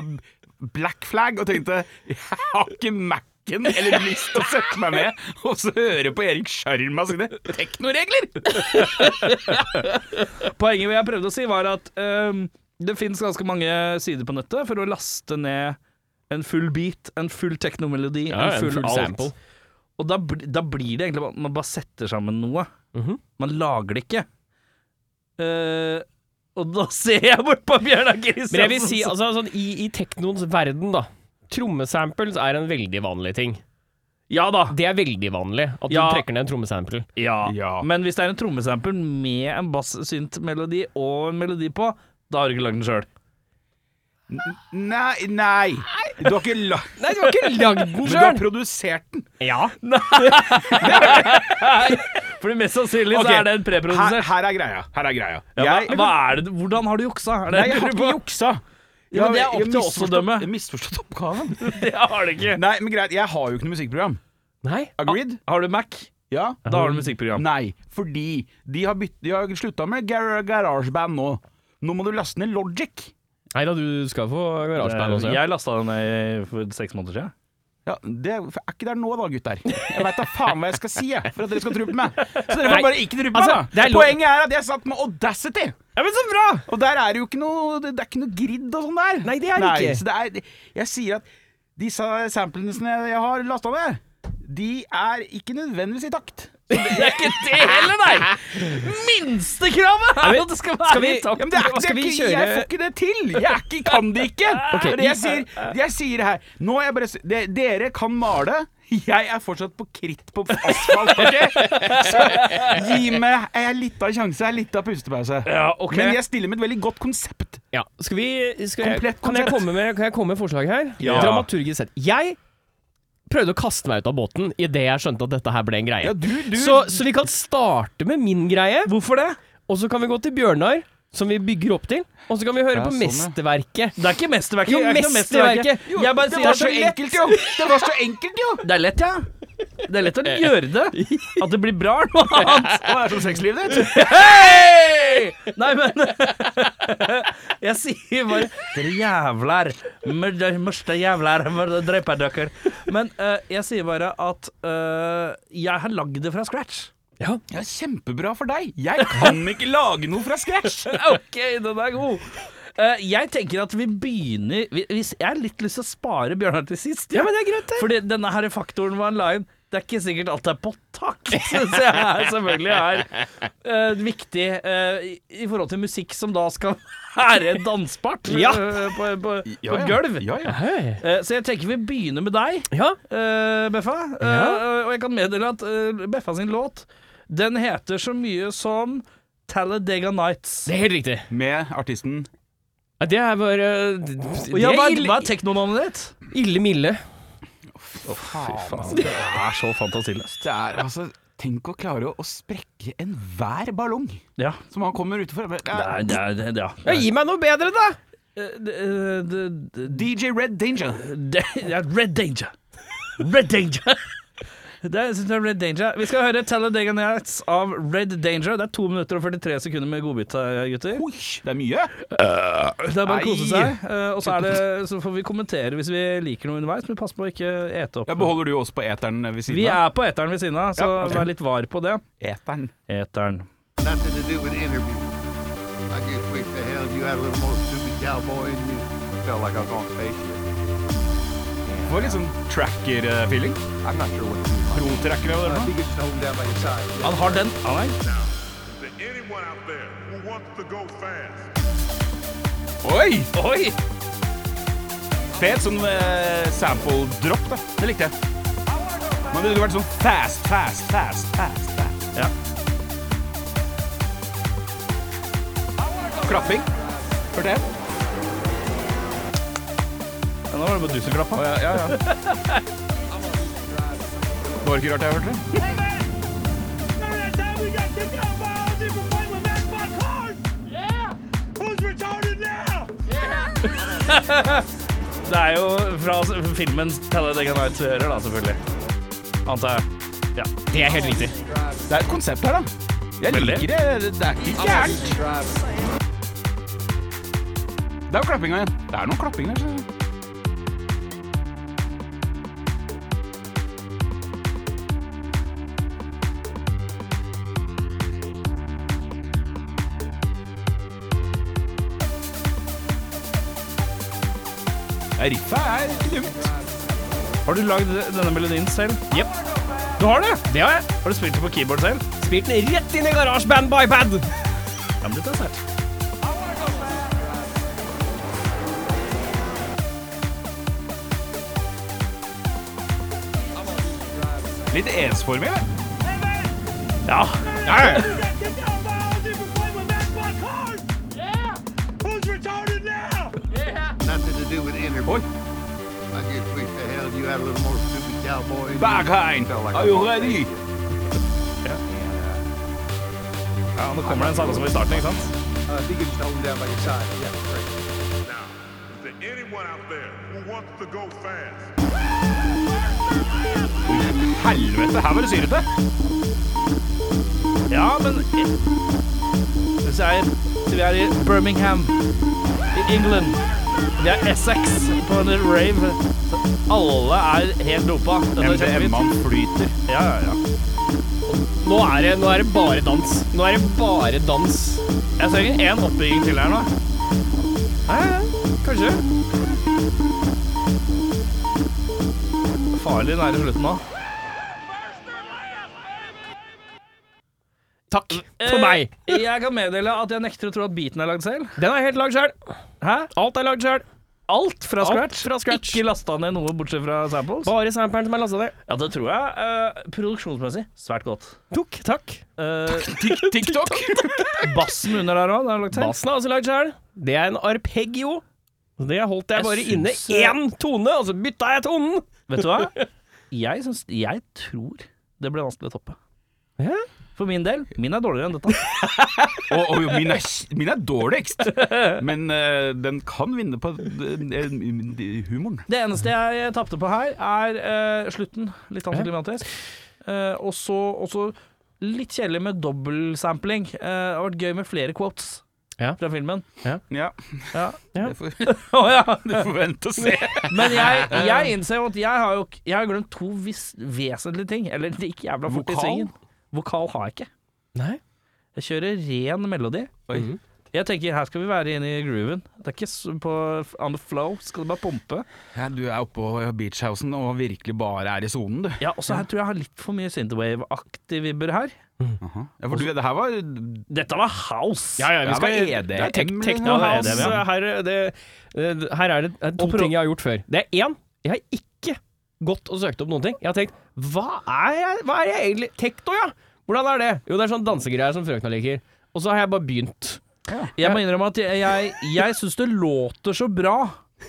Speaker 3: eh, Black Flag og tenkte Jeg har ikke Mac-en eller lyst til å sette meg med og så høre på Erik Sjarma sine teknoregler!
Speaker 2: Poenget jeg prøvde å si, var at ehm, det fins ganske mange sider på nettet for å laste ned en full beat, en full teknomelodi,
Speaker 4: Ja,
Speaker 2: en
Speaker 4: en
Speaker 2: full,
Speaker 4: full
Speaker 2: alt.
Speaker 4: sample.
Speaker 2: Og da, bl- da blir det egentlig bare Man bare setter sammen noe.
Speaker 4: Mhm.
Speaker 2: Man lager det ikke. Eh, og da ser jeg bort på Bjørnar Kristiansen.
Speaker 4: Men jeg vil si, altså, sånn, i, i teknoens verden, da. Trommesamples er en veldig vanlig ting.
Speaker 2: Ja da.
Speaker 4: Det er veldig vanlig at du
Speaker 2: Ja.
Speaker 4: trekker ned en trommesample.
Speaker 2: Ja.
Speaker 3: Ja.
Speaker 2: men hvis det er en trommesample med en bass-synt-melodi og en melodi på, da har du ikke lagd den sjøl.
Speaker 3: Nei, nei. Du har ikke la...
Speaker 4: Nei, du har ikke lagd
Speaker 3: Men
Speaker 4: den
Speaker 3: du har
Speaker 4: sjøl!
Speaker 3: produsert den.
Speaker 4: Ja.
Speaker 2: For mest sannsynlig
Speaker 3: Ok,
Speaker 2: så er den
Speaker 3: Her,
Speaker 2: preprodusert.
Speaker 3: her er greia. Her er greia.
Speaker 2: Ja, hva-
Speaker 3: Jeg-
Speaker 2: hva er det, hvordan har du juksa? Er det
Speaker 3: Nei, jeg har ikke juksa.
Speaker 2: Ja, men det er
Speaker 3: Jeg- jeg
Speaker 2: opp til oss å
Speaker 3: misforstått-
Speaker 2: dømme.
Speaker 3: Jeg misforstått oppgaven.
Speaker 2: Det har du ikke.
Speaker 3: Nei, men greit, jeg har jo ikke noe musikkprogram.
Speaker 4: Nei.
Speaker 3: Agreed?
Speaker 2: Har du Mac,
Speaker 3: Ja.
Speaker 2: da har du musikkprogram.
Speaker 3: Nei, fordi de har, bytt, de har slutta med gar garasjeband nå. Nå må du laste ned Logic.
Speaker 4: Nei da, du skal få
Speaker 3: Eh,
Speaker 4: garasjeband også. Ja.
Speaker 2: Jeg lasta den ned for seks måneder siden.
Speaker 3: Ja, det er er ikke der nå da, gutter. Jeg veit da faen hva jeg skal si, jeg, for at dere skal tro på meg. Så dere
Speaker 4: Nei,
Speaker 3: får bare ikke tro på meg,
Speaker 4: altså, det
Speaker 3: da.
Speaker 4: er lov-
Speaker 3: Poenget er at jeg satt med Audacity,
Speaker 4: ja, men så bra!
Speaker 3: og der er det jo ikke noe Det er ikke noe grid og sånn der.
Speaker 4: Nei, det er det ikke.
Speaker 3: Så det er, jeg sier at disse samplene som jeg jeg har lasta ned, de er ikke nødvendigvis i takt.
Speaker 2: Det er ikke det heller, nei! Minstekravet er at det skal være
Speaker 4: skal vi-
Speaker 2: i takt.
Speaker 3: Ja, men det er,
Speaker 4: Skal
Speaker 3: det er
Speaker 4: vi
Speaker 3: ikke, Jeg
Speaker 4: kjøre-
Speaker 3: får ikke det til! Jeg er ikke, kan det ikke!
Speaker 4: Ok.
Speaker 3: Det er det jeg, sier, jeg sier det her Nå er jeg bare, s- de, Dere kan male. Jeg er fortsatt på kritt på asfalt. ok? Så gi meg en liten sjanse, en liten pustepause.
Speaker 2: Ja, ok.
Speaker 3: Men jeg stiller med et veldig godt konsept.
Speaker 4: Ja, skal vi skal jeg,
Speaker 3: Komplett
Speaker 4: kan, jeg
Speaker 3: konsept.
Speaker 4: komme med, kan jeg komme med forslag her?
Speaker 3: Ja.
Speaker 4: Dramaturgisk sett. Jeg prøvde å kaste meg ut av båten idet jeg skjønte at dette her ble en greie.
Speaker 3: Ja, du- du-
Speaker 4: Så, så vi kan starte med min greie,
Speaker 2: Hvorfor det?
Speaker 4: og så kan vi gå til Bjørnar, som vi bygger opp til. Og så kan vi høre
Speaker 3: Ja,
Speaker 4: på
Speaker 3: sånn, ja.
Speaker 4: mesterverket.
Speaker 2: Det er ikke mesterverket.
Speaker 4: Jo,
Speaker 2: det er ikke noe
Speaker 4: mesterverket. Jo,
Speaker 2: Jeg bare
Speaker 3: Det
Speaker 2: sier
Speaker 3: var
Speaker 2: at
Speaker 3: så
Speaker 2: det er lett.
Speaker 3: enkelt, jo! Det var så enkelt, jo!
Speaker 2: Det er lett, ja. Det er lett å gjøre det. At det blir bra, er noe annet.
Speaker 3: Hva er det som sexlivet ditt?
Speaker 2: Nei, men Jeg sier bare Dere jævler. Men dere Mørste jævler. men dere Dreper dere. Men eh, jeg sier bare at eh, jeg har lagd det fra scratch.
Speaker 3: Ja, kjempebra for deg. Jeg kan ikke lage noe fra scratch.
Speaker 2: OK, den er god. Eh, jeg tenker at vi begynner vi, hvis, Jeg har litt lyst til å spare Bjørnar til sist. Ja, men det er greit det Fordi denne her faktoren var en line. Det er ikke sikkert alt er på takt. Så jeg er selvfølgelig er eh, viktig eh, i, i forhold til musikk som da skal være dansbart
Speaker 4: Ja.
Speaker 2: eh, på, på,
Speaker 3: Ja,
Speaker 2: på
Speaker 3: ja.
Speaker 2: gulv.
Speaker 3: Ja, ja.
Speaker 4: Hei.
Speaker 2: Eh, så jeg tenker vi begynner med deg.
Speaker 4: Ja.
Speaker 2: Eh, Beffa. Eh,
Speaker 4: Ja.
Speaker 2: og jeg kan meddele at eh, Beffa sin låt Den heter så mye som Talladega Nights.
Speaker 4: Det er helt riktig.
Speaker 3: Med artisten
Speaker 4: Ja, det er bare Det
Speaker 2: Og ja, hva,
Speaker 4: er
Speaker 2: er- hva
Speaker 4: ille,
Speaker 2: er teknonavnet ditt?
Speaker 4: ille mille.
Speaker 3: altså.
Speaker 2: Det er så fantasiløst.
Speaker 3: Det er altså Tenk å klare å, å sprekke enhver ballong
Speaker 2: Ja.
Speaker 3: som han kommer utenfor. Ja.
Speaker 2: Det er, det er, ja.
Speaker 4: Ja, gi meg noe bedre, da!
Speaker 2: Eh, det- eh, det- det-
Speaker 3: DJ Red Danger.
Speaker 2: det- ja, Red Danger. Red Danger. Det er, jeg synes det er Red Danger. Vi skal høre Talladega Nights av Red Danger. Det er 2 minutter og 43 sekunder med godbit, eh, gutter.
Speaker 3: Oi, det er mye.
Speaker 2: Det er bare å kose
Speaker 3: Nei.
Speaker 2: seg. eh, Og så, er det, så får vi kommentere hvis vi liker noe underveis, men pass på å ikke ete opp.
Speaker 3: Ja, beholder du oss på eteren ved siden
Speaker 2: Vi er på eteren ved siden av, så
Speaker 3: Ja, ok.
Speaker 2: vær litt var på det.
Speaker 3: Eteren.
Speaker 2: Eteren.
Speaker 5: Nothing to do with interviews. I just wish the hell you had a little more stupid cowboy in you. Felt like I was on a spaceship.
Speaker 3: Får litt sånn tracker-feeling.
Speaker 5: I'm not sure what to do.
Speaker 3: Pro-tracker eller
Speaker 5: I
Speaker 3: noe.
Speaker 5: think it's holding down by your side.
Speaker 2: Han har den. Ah, nei.
Speaker 6: to anyone out there who wants to go fast.
Speaker 3: Oi!
Speaker 2: Oi!
Speaker 3: Fet sånn eh, sample-drop, da. Det likte jeg. Men det ville vært sånn fast, fast, fast, fast. fast.
Speaker 2: Ja.
Speaker 3: Klapping. Hørte jeg?
Speaker 2: Nå var det bare du som klappa.
Speaker 3: Ja, ja. ja. Det var ikke rart jeg hørte det.
Speaker 2: Det er jo fra filmen Talladega Nights vi hører, da, selvfølgelig. Antar jeg. Ja.
Speaker 4: Det er helt riktig.
Speaker 3: Det er et konsept her, da. Jeg
Speaker 2: Veldig.
Speaker 3: liker det. Det er ikke gærent. Det er jo klappinga igjen. Det er noen klapping der. skjønner du. Ja, Riffet er ikke dumt.
Speaker 2: Har du lagd denne melodien selv?
Speaker 4: Jepp.
Speaker 2: Du har det?
Speaker 4: Det har jeg.
Speaker 2: Har du spilt det på keyboard selv?
Speaker 4: Spilt den rett inn i garasjeband på iPad.
Speaker 2: Ja, men dette er sterkt.
Speaker 3: Litt ensformig. vel?
Speaker 2: Ja.
Speaker 5: Nothing to do with interviews.
Speaker 3: Oi.
Speaker 5: I get quick to hell. You had a little more stupid cowboy. in you.
Speaker 3: Bergheim,
Speaker 5: Felt like I
Speaker 3: are you
Speaker 5: was on
Speaker 3: ready?
Speaker 5: spaceship.
Speaker 2: Ja, Nå kommer den samme som i starten, ikke sant?
Speaker 5: Uh, if you could just hold him down by your side. Yeah, great.
Speaker 6: Now, is there anyone out there who wants to go fast?
Speaker 3: Helvete, her var det syrete!
Speaker 2: Ja, men Hvis jeg vi er i Birmingham i England Vi er Essex på en rave så Alle er helt dopa Dette er kjempefint.
Speaker 3: MDMA-en flyter.
Speaker 2: Ja, ja, ja
Speaker 4: Nå er, det, nå er det bare dans. Nå er det bare dans.
Speaker 2: Jeg trenger en oppbygging til her nå Nei, nei, kanskje Farlig nære slutten nå
Speaker 4: Takk for meg.
Speaker 2: Eh, Jeg kan meddele at jeg nekter å tro at beaten er lagd selv
Speaker 4: Den er helt lagd sjøl.
Speaker 2: Hæ?
Speaker 4: Alt er lagd sjøl.
Speaker 2: Alt fra
Speaker 4: Alt
Speaker 2: scratch?
Speaker 4: fra scratch.
Speaker 2: Ikke lasta ned noe bortsett fra samples?
Speaker 4: Bare samperen som er lasta ned.
Speaker 2: Ja, det tror jeg. Eh, produksjonsmessig svært godt.
Speaker 4: Tok, takk.
Speaker 2: Eh,
Speaker 3: TikTok.
Speaker 2: bassen under der òg, det er lagt til.
Speaker 4: Bassen er også lagd sjøl. altså, Det er en arpeggio. Og Det holdt
Speaker 2: Jeg
Speaker 4: jeg
Speaker 2: eh,
Speaker 4: bare
Speaker 2: syns-
Speaker 4: inne én tone, og så bytta jeg tonen.
Speaker 2: Vet du hva? Jeg, syns, jeg tror det ble vanskelig å toppe.
Speaker 4: Ja.
Speaker 2: For min del. Min er dårligere enn dette.
Speaker 3: Og, og jo, min, er, min er dårligst, men eh, den kan vinne på eh, eh, humoren.
Speaker 2: Det eneste jeg tapte på her, er eh, slutten. Litt antiklimatisk. Uh, og så og så litt kjedelig med dobbeltsampling. Eh, det har vært gøy med flere quotes
Speaker 4: Ja.
Speaker 2: fra filmen.
Speaker 3: Ja,
Speaker 2: Ja.
Speaker 3: det får, det
Speaker 2: Å ja.
Speaker 3: får vente og se.
Speaker 2: Men jeg, jeg innser jo at jeg har, jo, jeg har glemt to vis, vesentlige ting. Eller det gikk jævla fort i
Speaker 3: Vokal?
Speaker 2: svingen. Vokal har jeg ikke.
Speaker 4: Nei.
Speaker 2: Jeg kjører ren melodi.
Speaker 3: Oi.
Speaker 2: Jeg tenker her skal vi være inne i grooven. Det er ikke s- på on the flow. Skal det bare pumpe?
Speaker 3: Ja, du er oppå beachhousen og virkelig bare er i sonen, du.
Speaker 2: Ja, og så her tror jeg jeg har litt for mye synthwave-aktig vibber her.
Speaker 3: Ja, for du, det her var
Speaker 2: Dette var house!
Speaker 4: Ja, ja, vi
Speaker 3: Ja,
Speaker 4: skal e-
Speaker 3: hva er det?
Speaker 4: Det er tek-
Speaker 3: Ja,
Speaker 4: techno
Speaker 2: det er
Speaker 4: house.
Speaker 2: det, ja.
Speaker 4: Her, er det, det- her er det det er to
Speaker 2: Og pro-
Speaker 4: ting jeg har gjort før. Det er én. Jeg har ikke gått og søkt opp noen ting. Jeg har tenkt Hva er jeg, hva er jeg egentlig Tekno, ja! Hvordan er det? Jo, det er sånn dansegreier som frøkna liker. Og så har jeg bare begynt.
Speaker 2: Jeg må innrømme at jeg, jeg, jeg syns det låter så bra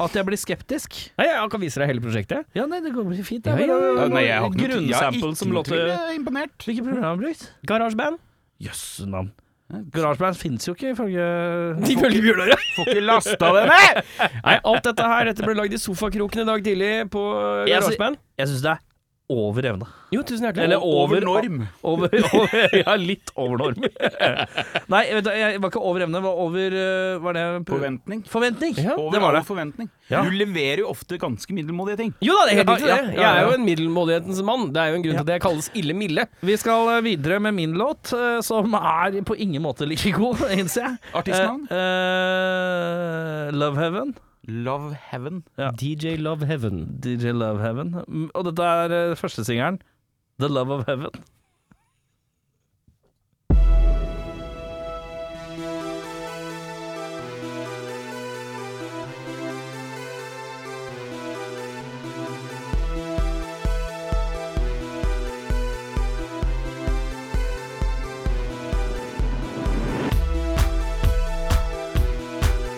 Speaker 2: at jeg blir skeptisk.
Speaker 4: Nei, jeg kan vise deg hele prosjektet.
Speaker 2: Ja, nei, det går blir fint.
Speaker 4: Ja,
Speaker 2: Det
Speaker 4: ja, ja.
Speaker 2: er
Speaker 3: Nei,
Speaker 2: bare
Speaker 3: jeg har ikke noe- jeg har ikke
Speaker 2: grunnsample som
Speaker 3: noe tvil.
Speaker 2: låter
Speaker 3: Jeg er imponert.
Speaker 2: Hvilke program har du brukt?
Speaker 4: Garasjeband.
Speaker 2: Jøsse navn. GarageBand fins jo ikke, ifølge
Speaker 4: Ifølge Bjørnare.
Speaker 3: Får ikke lasta det ned!
Speaker 4: Nei, alt dette her Dette ble lagd i sofakroken i dag tidlig på eh,
Speaker 2: Jeg
Speaker 4: Garasjeband.
Speaker 2: Jeg syns det er over evne.
Speaker 4: Jo, tusen hjertelig.
Speaker 2: Eller over,
Speaker 3: over norm.
Speaker 2: Over, over, ja, litt over norm. Nei, vet du, jeg var ikke over evne. Var over eh, Var det
Speaker 3: Forventning.
Speaker 2: Forventning.
Speaker 4: Ja.
Speaker 3: Over
Speaker 2: det var
Speaker 3: all
Speaker 2: det.
Speaker 3: forventning.
Speaker 2: Ja.
Speaker 3: Du leverer jo ofte ganske middelmådige ting.
Speaker 4: Jo da, det er helt
Speaker 2: Ja,
Speaker 4: riktig,
Speaker 2: ja, ja,
Speaker 4: det. Jeg er
Speaker 2: ja.
Speaker 4: jo en middelmådighetens mann. Det er jo en grunn til at jeg kalles Ille Mille.
Speaker 2: Vi skal eh, videre med min låt, eh, som er på ingen måte like god, innser jeg.
Speaker 3: Artistnavn?
Speaker 2: Eh, eh, Love Heaven.
Speaker 3: Love Heaven.
Speaker 2: Ja.
Speaker 4: DJ Love Heaven.
Speaker 2: DJ Love Heaven. Mm, Og dette er eh, førstesingelen. The Love of Heaven.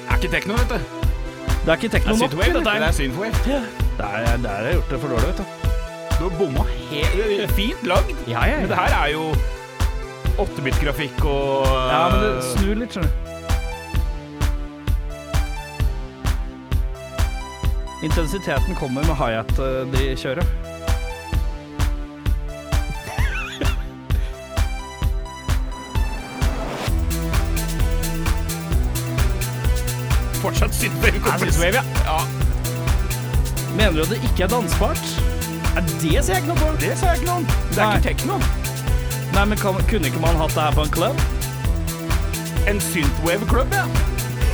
Speaker 3: Er ikke tekno, vet du.
Speaker 2: Det er ikke tekno nok.
Speaker 4: Synthwave,
Speaker 2: eller?
Speaker 4: dette
Speaker 3: Det
Speaker 4: er.
Speaker 3: er synthwave.
Speaker 2: Der, der har jeg gjort det for dårlig, vet du.
Speaker 3: Du har bomma helt Fint lagd,
Speaker 4: Ja, ja,
Speaker 3: men det
Speaker 4: ja.
Speaker 3: her er jo 8-bit-grafikk og
Speaker 2: Ja, men det snur litt, skjønner du. Intensiteten kommer med hi-hat eh, de kjører.
Speaker 3: eh, fortsatt synthwave. kompis.
Speaker 4: Synthwave, ja.
Speaker 2: Mener du at det ikke er dansbart?
Speaker 4: Ja, Det ser jeg ikke noe på.
Speaker 3: Det sa jeg ikke noe om. Det er
Speaker 2: Nei.
Speaker 3: ikke tekno.
Speaker 2: Nei, men kan, kunne ikke man hatt det her på en club?
Speaker 3: En synthwave-klubb, ja.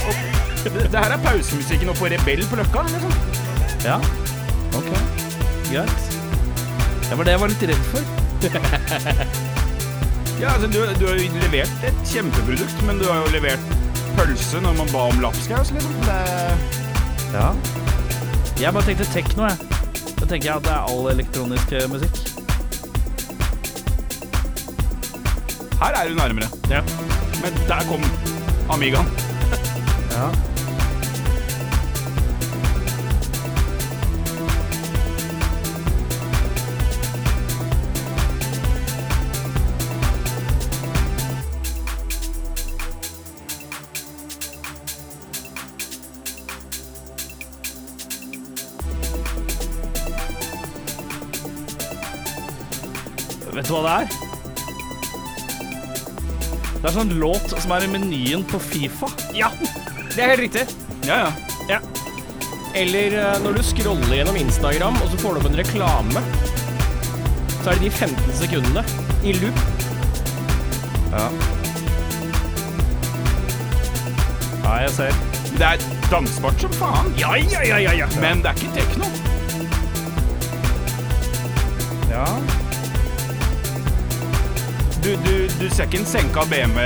Speaker 3: Og Det det her er pausemusikken oppe på Rebell på Løkka. liksom.
Speaker 2: Ja. Ok. Greit. Det var det jeg var litt redd for.
Speaker 3: Ja, altså, du, du har jo levert et kjempeprodukt, men du har jo levert pølse når man ba om lapskaus, liksom. Det er
Speaker 2: Ja. Jeg bare tenkte tekno, jeg. Da tenker jeg at det er all elektronisk eh, musikk.
Speaker 3: Her er du nærmere.
Speaker 2: Ja.
Speaker 3: Men der kom Amigaen.
Speaker 2: Ja. Vet du hva det er? Det er sånn låt som er i menyen på Fifa.
Speaker 4: Ja, det er helt riktig.
Speaker 3: Ja, ja.
Speaker 4: Eller eh, når du scroller gjennom Instagram, og så får du opp en reklame, så er det de 15 sekundene i loop.
Speaker 2: Ja, jeg ser.
Speaker 3: Det er dansbart som faen. Ja, ja, ja, ja, ja. Men det er ikke tekno.
Speaker 2: Ja.
Speaker 3: Du, du, du ser ikke en senka BMW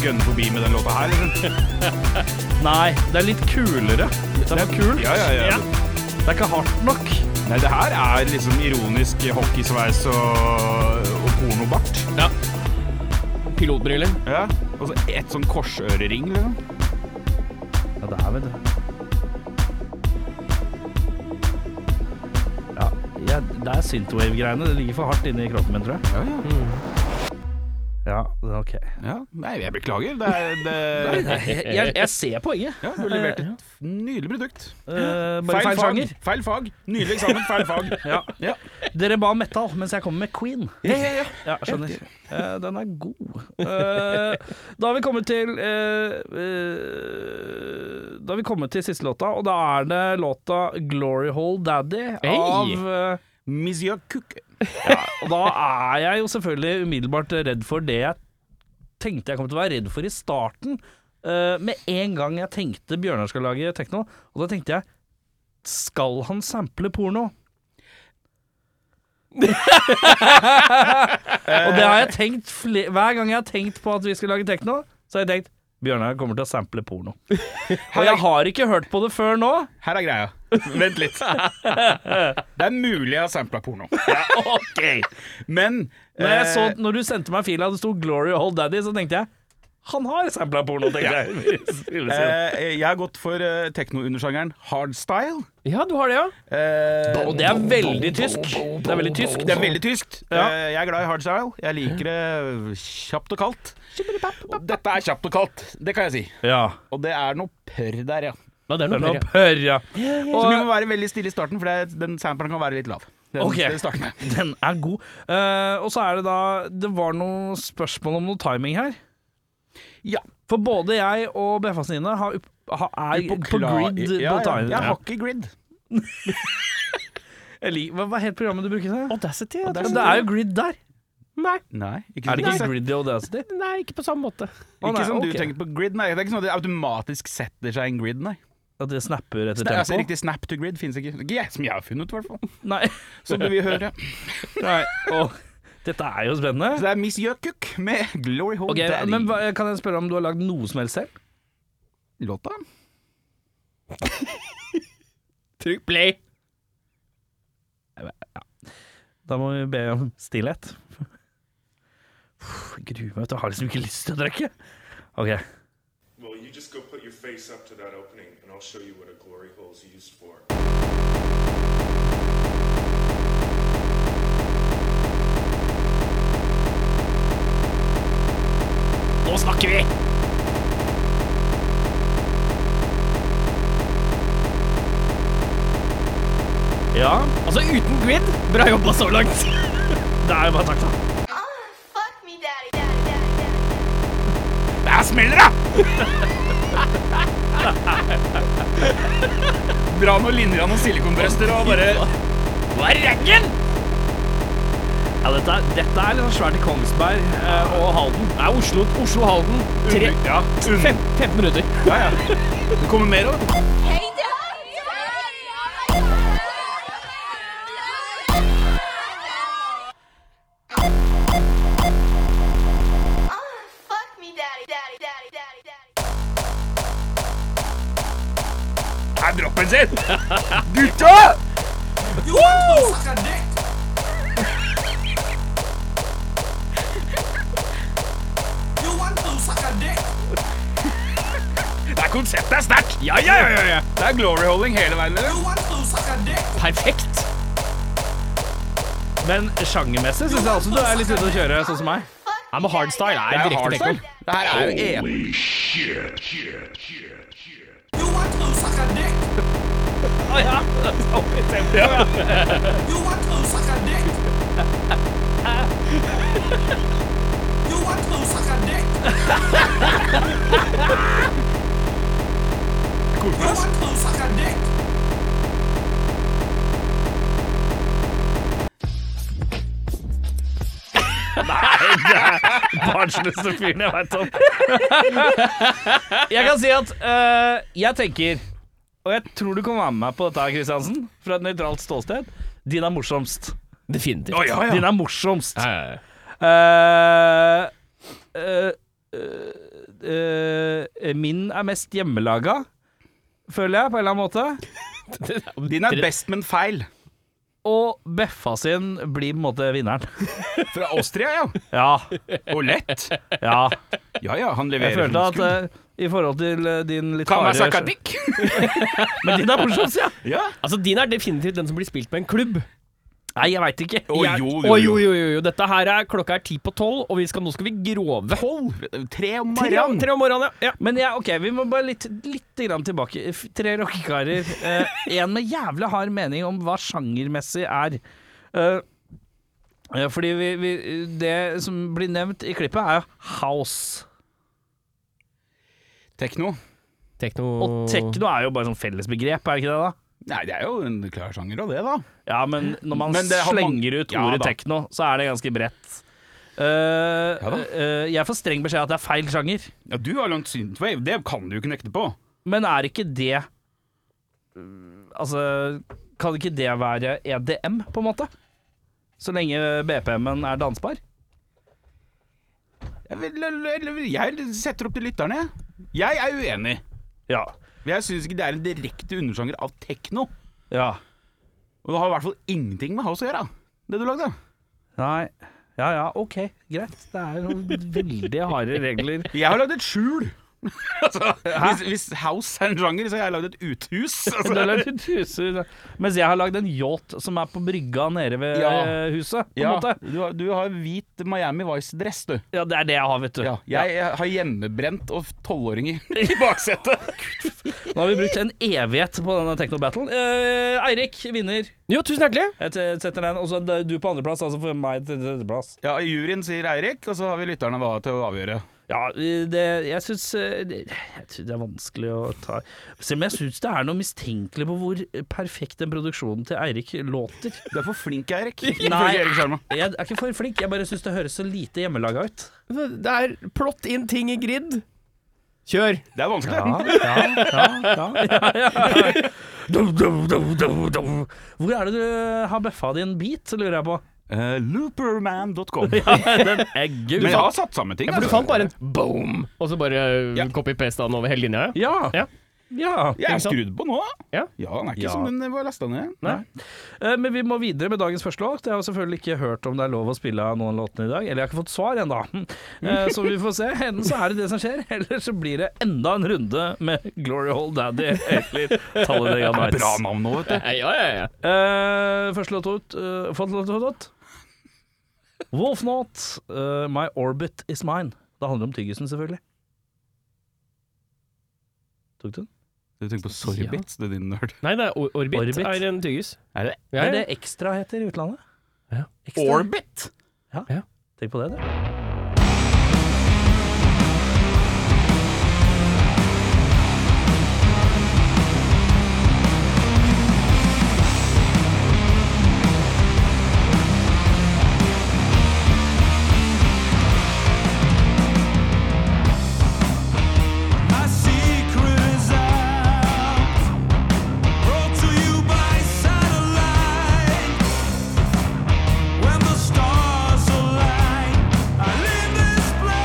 Speaker 3: gønne forbi med den låta her. Liksom.
Speaker 2: Nei, det er litt kulere. Det er kult.
Speaker 3: Ja, ja, ja.
Speaker 2: Det er ikke hardt nok.
Speaker 3: Nei, det her er liksom ironisk hockeysveis og, og pornobart.
Speaker 4: Pilotbriller.
Speaker 3: Ja. Og så et sånn korsørering, liksom.
Speaker 2: Ja, det er vel det. Ja, jeg- det er synthwave-greiene. Det ligger for hardt inne i kroppen min, tror jeg.
Speaker 3: Ja, ja.
Speaker 2: Ja, det er ok. Eh,
Speaker 3: ja. Nei, jeg beklager. Det er, det,
Speaker 2: Jeg, jeg, jeg ser poenget.
Speaker 3: ja, du leverte et nydelig produkt.
Speaker 2: Eh, bare feil,
Speaker 3: fag.
Speaker 2: sjanger.
Speaker 3: Feil fag. Nydelig eksamen, feil fag. ja. ja.
Speaker 2: Dere ba metal, mens jeg kommer med Queen.
Speaker 3: Ja, ja, ja.
Speaker 2: Ja, skjønner. Eh, den er god. Eh, da har vi kommet til eh, eh, Da har vi kommet til siste låta, og da er det låta 'Glory Hole Daddy'
Speaker 4: Hey!
Speaker 2: av eh,
Speaker 3: Monsieur Cook.
Speaker 2: Og da er jeg jo selvfølgelig umiddelbart redd for det jeg tenkte jeg kom til å være redd for i starten. Eh, med en gang jeg tenkte Bjørnar skal lage tekno, og da tenkte jeg Skal han sample porno? og det har jeg tenkt fle hver gang jeg har tenkt på at vi skal lage tekno, så har jeg tenkt Bjørnar kommer til å sample porno. Og jeg har ikke hørt på det før nå.
Speaker 3: Her er greia. Vent litt. Det er mulig jeg har sampla porno.
Speaker 2: Okay.
Speaker 3: Men
Speaker 2: Når, jeg
Speaker 3: eh,
Speaker 2: så, når du sendte meg fila og det sto 'Glory Old Daddy', så tenkte jeg han har sampla porno, tenkte jeg.
Speaker 3: eh, jeg har gått for eh, tekno-undersjangeren hardstyle.
Speaker 4: Ja, du har det, ja.
Speaker 3: Eh,
Speaker 2: Og det er veldig tysk. Det er veldig tysk.
Speaker 3: det er veldig tyskt.
Speaker 2: Ja.
Speaker 3: Eh, jeg er glad i hardstyle. Jeg liker det kjapt og kaldt. Og dette er kjapt og kaldt, det kan jeg si.
Speaker 2: Ja.
Speaker 3: Og det er noe pørr der, ja.
Speaker 4: ja det er
Speaker 2: Det
Speaker 4: noe
Speaker 2: er noe
Speaker 4: pørre.
Speaker 2: pørr, ja.
Speaker 3: Så vi må være veldig stille i starten, for det, den sampleren kan være litt lav. Den,
Speaker 2: Ok.
Speaker 3: det starter med.
Speaker 2: Den er god. Eh, og så er det da Det var noe spørsmål om noe timing her.
Speaker 3: Ja.
Speaker 2: For både jeg og BFA-sine har, opp- har, er på,
Speaker 3: Klar-
Speaker 2: grid eh,
Speaker 3: ja,
Speaker 2: på
Speaker 3: ja,
Speaker 2: timing.
Speaker 3: Jeg har ikke grid.
Speaker 2: Jeg liker- Hva, hva het programmet du bruker? til?
Speaker 4: Audacity?
Speaker 2: Ja, det er jo grid der.
Speaker 4: Nei,
Speaker 3: Nei,
Speaker 2: Er det
Speaker 3: sånn-
Speaker 2: ikke grid i Audacity?
Speaker 4: nei, ikke på samme måte.
Speaker 2: Å, nei,
Speaker 3: Ikke som
Speaker 2: ok.
Speaker 3: du tenker på grid, nei. Det er ikke sånn at det automatisk setter seg i en grid, nei.
Speaker 2: At det snapper etter
Speaker 3: Det er altså,
Speaker 2: tempo?
Speaker 3: riktig snap to grid finnes ikke. Ikke jeg som jeg har funnet, i hvert fall.
Speaker 2: Nei.
Speaker 3: Som du vil høre.
Speaker 2: Nei. Å, dette er jo spennende.
Speaker 3: Så det er Miss Jøkuk med Glory Hole
Speaker 2: Ok,
Speaker 3: Daddy.
Speaker 2: men hva- Kan jeg spørre om du har lagd noe som helst selv?
Speaker 3: Låta?
Speaker 4: Trykk play.
Speaker 2: Da må vi be om stillhet. Uff, Jeg gruer meg. vet du. Jeg har liksom ikke lyst til å drikke. Ok.
Speaker 6: Well, you just go put your face up to that opening, and I'll show you what a glory hole is used for.
Speaker 4: Nå snakker vi!
Speaker 2: Ja,
Speaker 4: Altså, uten grid. Bra jobba så langt.
Speaker 2: det er jo bare takk, da.
Speaker 7: Oh, fuck me, daddy, daddy, daddy, daddy.
Speaker 3: Der smeller det! Bra med linjer og silikonbrøster og bare
Speaker 4: Hva er reggen?
Speaker 2: Ja, dette, er- dette er litt sånn svært i Kongsberg eh, og Halden.
Speaker 4: Det er Oslo, Oslo-Halden. Tre,
Speaker 3: Ja, un-
Speaker 4: fem, 15 minutter.
Speaker 3: ja, ja. Det kommer mer òg.
Speaker 7: Hey, daddy, daddy, daddy, daddy. Oh, fuck me, daddy, daddy, daddy, daddy, daddy.
Speaker 3: Her dropper den sin! Gutta! Det er konseptet er sterkt! Ja, ja, ja, ja, ja! Det er glory-holding hele veien. Eller?
Speaker 4: Perfekt.
Speaker 2: Men sjangermessig syns jeg også du er litt ute å kjøre, sånn som meg.
Speaker 4: Ja, men hardstyle er
Speaker 3: Det er
Speaker 4: direkte
Speaker 3: hardstyle.
Speaker 4: tekno.
Speaker 3: Det her er jo en
Speaker 2: ja.
Speaker 8: You want to suck a dick?
Speaker 2: barnsligste fyren jeg veit om. jeg kan si at eh, jeg tenker, og jeg tror du kan være med meg på dette, her, Kristiansen, fra et nøytralt ståsted, din er morsomst.
Speaker 4: Definitivt.
Speaker 3: Å, ja, ja.
Speaker 2: Din er morsomst.
Speaker 4: Ja, ja, ja.
Speaker 2: Eh, eh, eh, eh, min er mest hjemmelaga, føler jeg, på en eller annen måte.
Speaker 3: Din er best, men feil.
Speaker 2: Og Beffa sin blir på en måte vinneren.
Speaker 3: Fra Austria, ja.
Speaker 2: Ja.
Speaker 3: Og lett.
Speaker 2: ja.
Speaker 3: Ja ja, han leverer.
Speaker 2: Jeg følte at
Speaker 3: Skulle-
Speaker 2: eh, i forhold til eh, din litt
Speaker 3: Kan man
Speaker 2: harde-
Speaker 3: snakke dick?
Speaker 2: Men din er morsomst, ja.
Speaker 3: Ja.
Speaker 4: Altså, din er definitivt den som blir spilt med en klubb.
Speaker 2: Nei, jeg veit ikke.
Speaker 3: Å
Speaker 2: Jeg-
Speaker 3: jo,
Speaker 4: Å, jo, jo, jo, jo. Dette her er klokka er ti på tolv, og vi skal, nå skal vi grove.
Speaker 3: Tolv? Tre om
Speaker 4: Tre,
Speaker 3: morgenen.
Speaker 4: tre om morgenen, ja. ja.
Speaker 2: Men ja, ok, vi må bare litt, litt grann tilbake. F- Tre rockekarer. Eh, en med jævla hard mening om hva sjangermessig er. Eh, eh, fordi vi, vi, det som blir nevnt i klippet, er house.
Speaker 3: Tekno.
Speaker 4: Tekno
Speaker 2: Og techno er jo bare sånn fellesbegrep, er det ikke det? da?
Speaker 3: Nei, det er jo en klar sjanger av det, da.
Speaker 2: Ja, men når man
Speaker 3: Men det har man-
Speaker 2: slenger ut
Speaker 3: Ja
Speaker 2: ordet
Speaker 3: da.
Speaker 2: tekno, så er det ganske bredt. Eh,
Speaker 3: da.
Speaker 2: eh, jeg får streng beskjed at det er feil sjanger,
Speaker 3: Ja, du har lånt synthwave, det kan du jo ikke nekte på.
Speaker 2: men er ikke det eh, Altså, kan ikke det være EDM, på en måte? Så lenge BPM-en er dansbar?
Speaker 3: Jeg, vil, eller, jeg setter opp til lytterne. Jeg er uenig.
Speaker 2: Ja.
Speaker 3: Jeg syns ikke det er en direkte undersjanger av tekno.
Speaker 2: ja.
Speaker 3: Og det har i hvert fall ingenting med house å gjøre, det du lagde.
Speaker 2: Nei. Ja ja, OK, greit. Det er jo noen veldig harde regler.
Speaker 3: Jeg har lagd et skjul. altså, hvis, hvis house er en sjanger, så har jeg lagd et uthus.
Speaker 2: Du
Speaker 3: Altså.
Speaker 2: har lagd et hushus, mens jeg har lagd en yacht som er på brygga nede ved
Speaker 3: Ja.
Speaker 2: eh, huset. På
Speaker 3: Ja,
Speaker 2: en måte.
Speaker 3: du, har, du har hvit Miami Vice-dress, du.
Speaker 2: Ja, det er det jeg har, vet du.
Speaker 3: Ja, jeg har hjemmebrent og tolvåringer i baksetet.
Speaker 2: Nå har vi brukt en evighet på denne techno-battlen. Eh, Eirik vinner.
Speaker 4: Jo, tusen hjertelig.
Speaker 2: Jeg t- setter den, og så er du på andreplass, altså for meg til tredjeplass.
Speaker 3: Ja, Juryen sier Eirik, og så har vi lytterne da til å avgjøre.
Speaker 2: Ja, eh, det, jeg syns det, jeg synes det er vanskelig å ta Selv om jeg syns det er noe mistenkelig på hvor perfekt den produksjonen til Eirik låter.
Speaker 3: Du er for flink, Eirik.
Speaker 2: Nei.
Speaker 3: Ifølge Erik Sjarma.
Speaker 2: Jeg er ikke for flink, jeg bare syns det høres så lite hjemmelaga ut.
Speaker 4: Det er plott inn ting i grid. Kjør.
Speaker 3: Det er vanskelig.
Speaker 2: ja, ja, ja, Dum, dum, dum, dum, dum. Hvor er det du har bøffa din beat, lurer jeg på?
Speaker 3: Eh, Looperman.com.
Speaker 2: Den er gul.
Speaker 3: Men jeg har satt sammen ting.
Speaker 4: Ja, for du
Speaker 3: altså.
Speaker 4: fant bare en boom, og så bare eh,
Speaker 3: Ja.
Speaker 4: copy-paste den over hele linja? ja?
Speaker 2: Ja.
Speaker 4: Ja.
Speaker 2: Ja.
Speaker 3: Jeg er
Speaker 4: Ikke sant?
Speaker 3: skrudd på nå. da.
Speaker 4: Ja.
Speaker 3: ja den er ikke
Speaker 2: Ja.
Speaker 3: som den var lasta ned.
Speaker 2: Eh, Men vi må videre med dagens første låt. Jeg har selvfølgelig ikke hørt om det er lov å spille av noen låtene i dag. Eller jeg har ikke fått svar ennå. Eh, Så vi får se. Enten så er det det som skjer, eller så blir det enda en runde med Glory Hole Daddy eller Talladega
Speaker 3: Bra
Speaker 2: Nights.
Speaker 3: navn nå, vet du.
Speaker 4: Ja, ja, ja.
Speaker 2: Eh, Første låt ut eh, Fått låt ut? ut? Wolfnot, eh, My Orbit Is Mine. Det handler om tyggisen, selvfølgelig. Tok du den?
Speaker 3: Du tenker på sorbets, du din nerd.
Speaker 4: Nei, det er or orbit,
Speaker 2: Orbit.
Speaker 4: er en tyggis.
Speaker 3: Er det
Speaker 2: Er
Speaker 4: Ja, ja.
Speaker 2: det ekstra heter i utlandet?
Speaker 4: Ja.
Speaker 2: Ekstra.
Speaker 3: Orbit?
Speaker 2: Ja.
Speaker 4: Ja.
Speaker 2: Tenk på det, du.
Speaker 8: When the stars align, I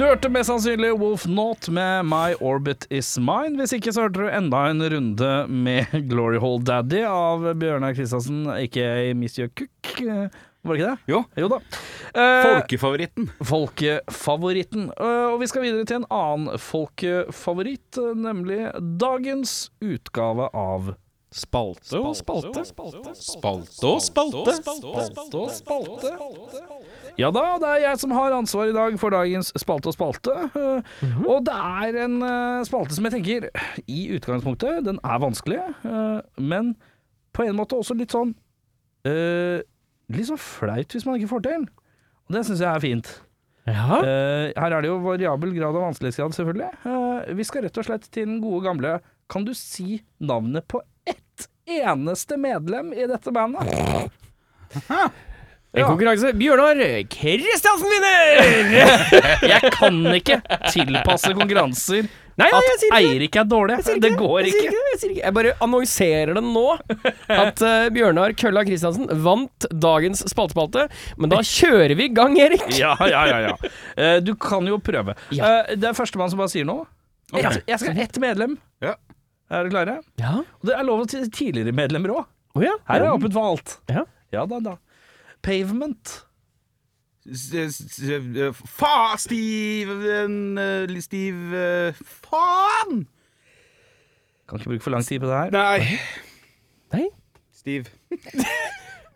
Speaker 2: hørte mest sannsynlig Wolf Not med My Orbit Is Mine. Hvis ikke så hørte du enda en runde med Glory Hole Daddy av Bjørnar Kristiansen, aka Monsieur Cook. Eh, Var det ikke det?
Speaker 3: Jo.
Speaker 2: Jo da. Eh,
Speaker 3: Folkefavoritten.
Speaker 2: Folkefavoritten. Eh, Og vi skal videre til en annen folkefavoritt, eh, nemlig dagens utgave av Spalte og spalte.
Speaker 3: Spalte og spalte.
Speaker 2: Spalte og spalte. Ja da, det er jeg som har ansvar i dag for dagens Spalte og spalte. Eh, Og det er en eh, spalte som jeg tenker, i utgangspunktet, den er vanskelig, eh, men på en måte også litt sånn eh, Litt sånn flaut hvis man ikke får til. Og det syns jeg er fint.
Speaker 4: Ja.
Speaker 2: Eh, her er det jo variabel grad av vanskelighetsgrad, selvfølgelig. Eh, vi skal rett og slett til den gode gamle Kan du si navnet på ett eneste medlem i dette bandet?
Speaker 4: En konkurranse. Bjørnar Kristiansen vinner!
Speaker 2: Jeg kan ikke tilpasse konkurranser
Speaker 4: Nei, nei, jeg
Speaker 2: at
Speaker 4: sier ikke det.
Speaker 2: Eirik er dårlig.
Speaker 4: Jeg sier ikke
Speaker 2: Det går
Speaker 4: Jeg, sier
Speaker 2: ikke.
Speaker 4: ikke, det, jeg, sier ikke. jeg bare annonserer det nå, at eh, Bjørnar Kølla Kristiansen vant dagens spaltespalte. Men da kjører vi i gang, Erik.
Speaker 2: Ja, ja, ja, ja. Eh, Du kan jo prøve.
Speaker 4: Ja.
Speaker 2: Eh, Det er førstemann som bare sier noe. Jeg jeg skal ha ett medlem.
Speaker 3: Ja.
Speaker 2: Er dere klare?
Speaker 4: Ja.
Speaker 2: Og det er lov til tidligere medlemmer òg.
Speaker 4: Å ja.
Speaker 2: Her er åpent for alt.
Speaker 4: Ja.
Speaker 2: Mm. ja da, da. Pavement.
Speaker 3: S- s- s- Fa... Steven eh, Steve eh, Faen!
Speaker 2: Kan ikke bruke for lang tid på det her.
Speaker 3: Nei.
Speaker 4: Nei.
Speaker 3: Steve.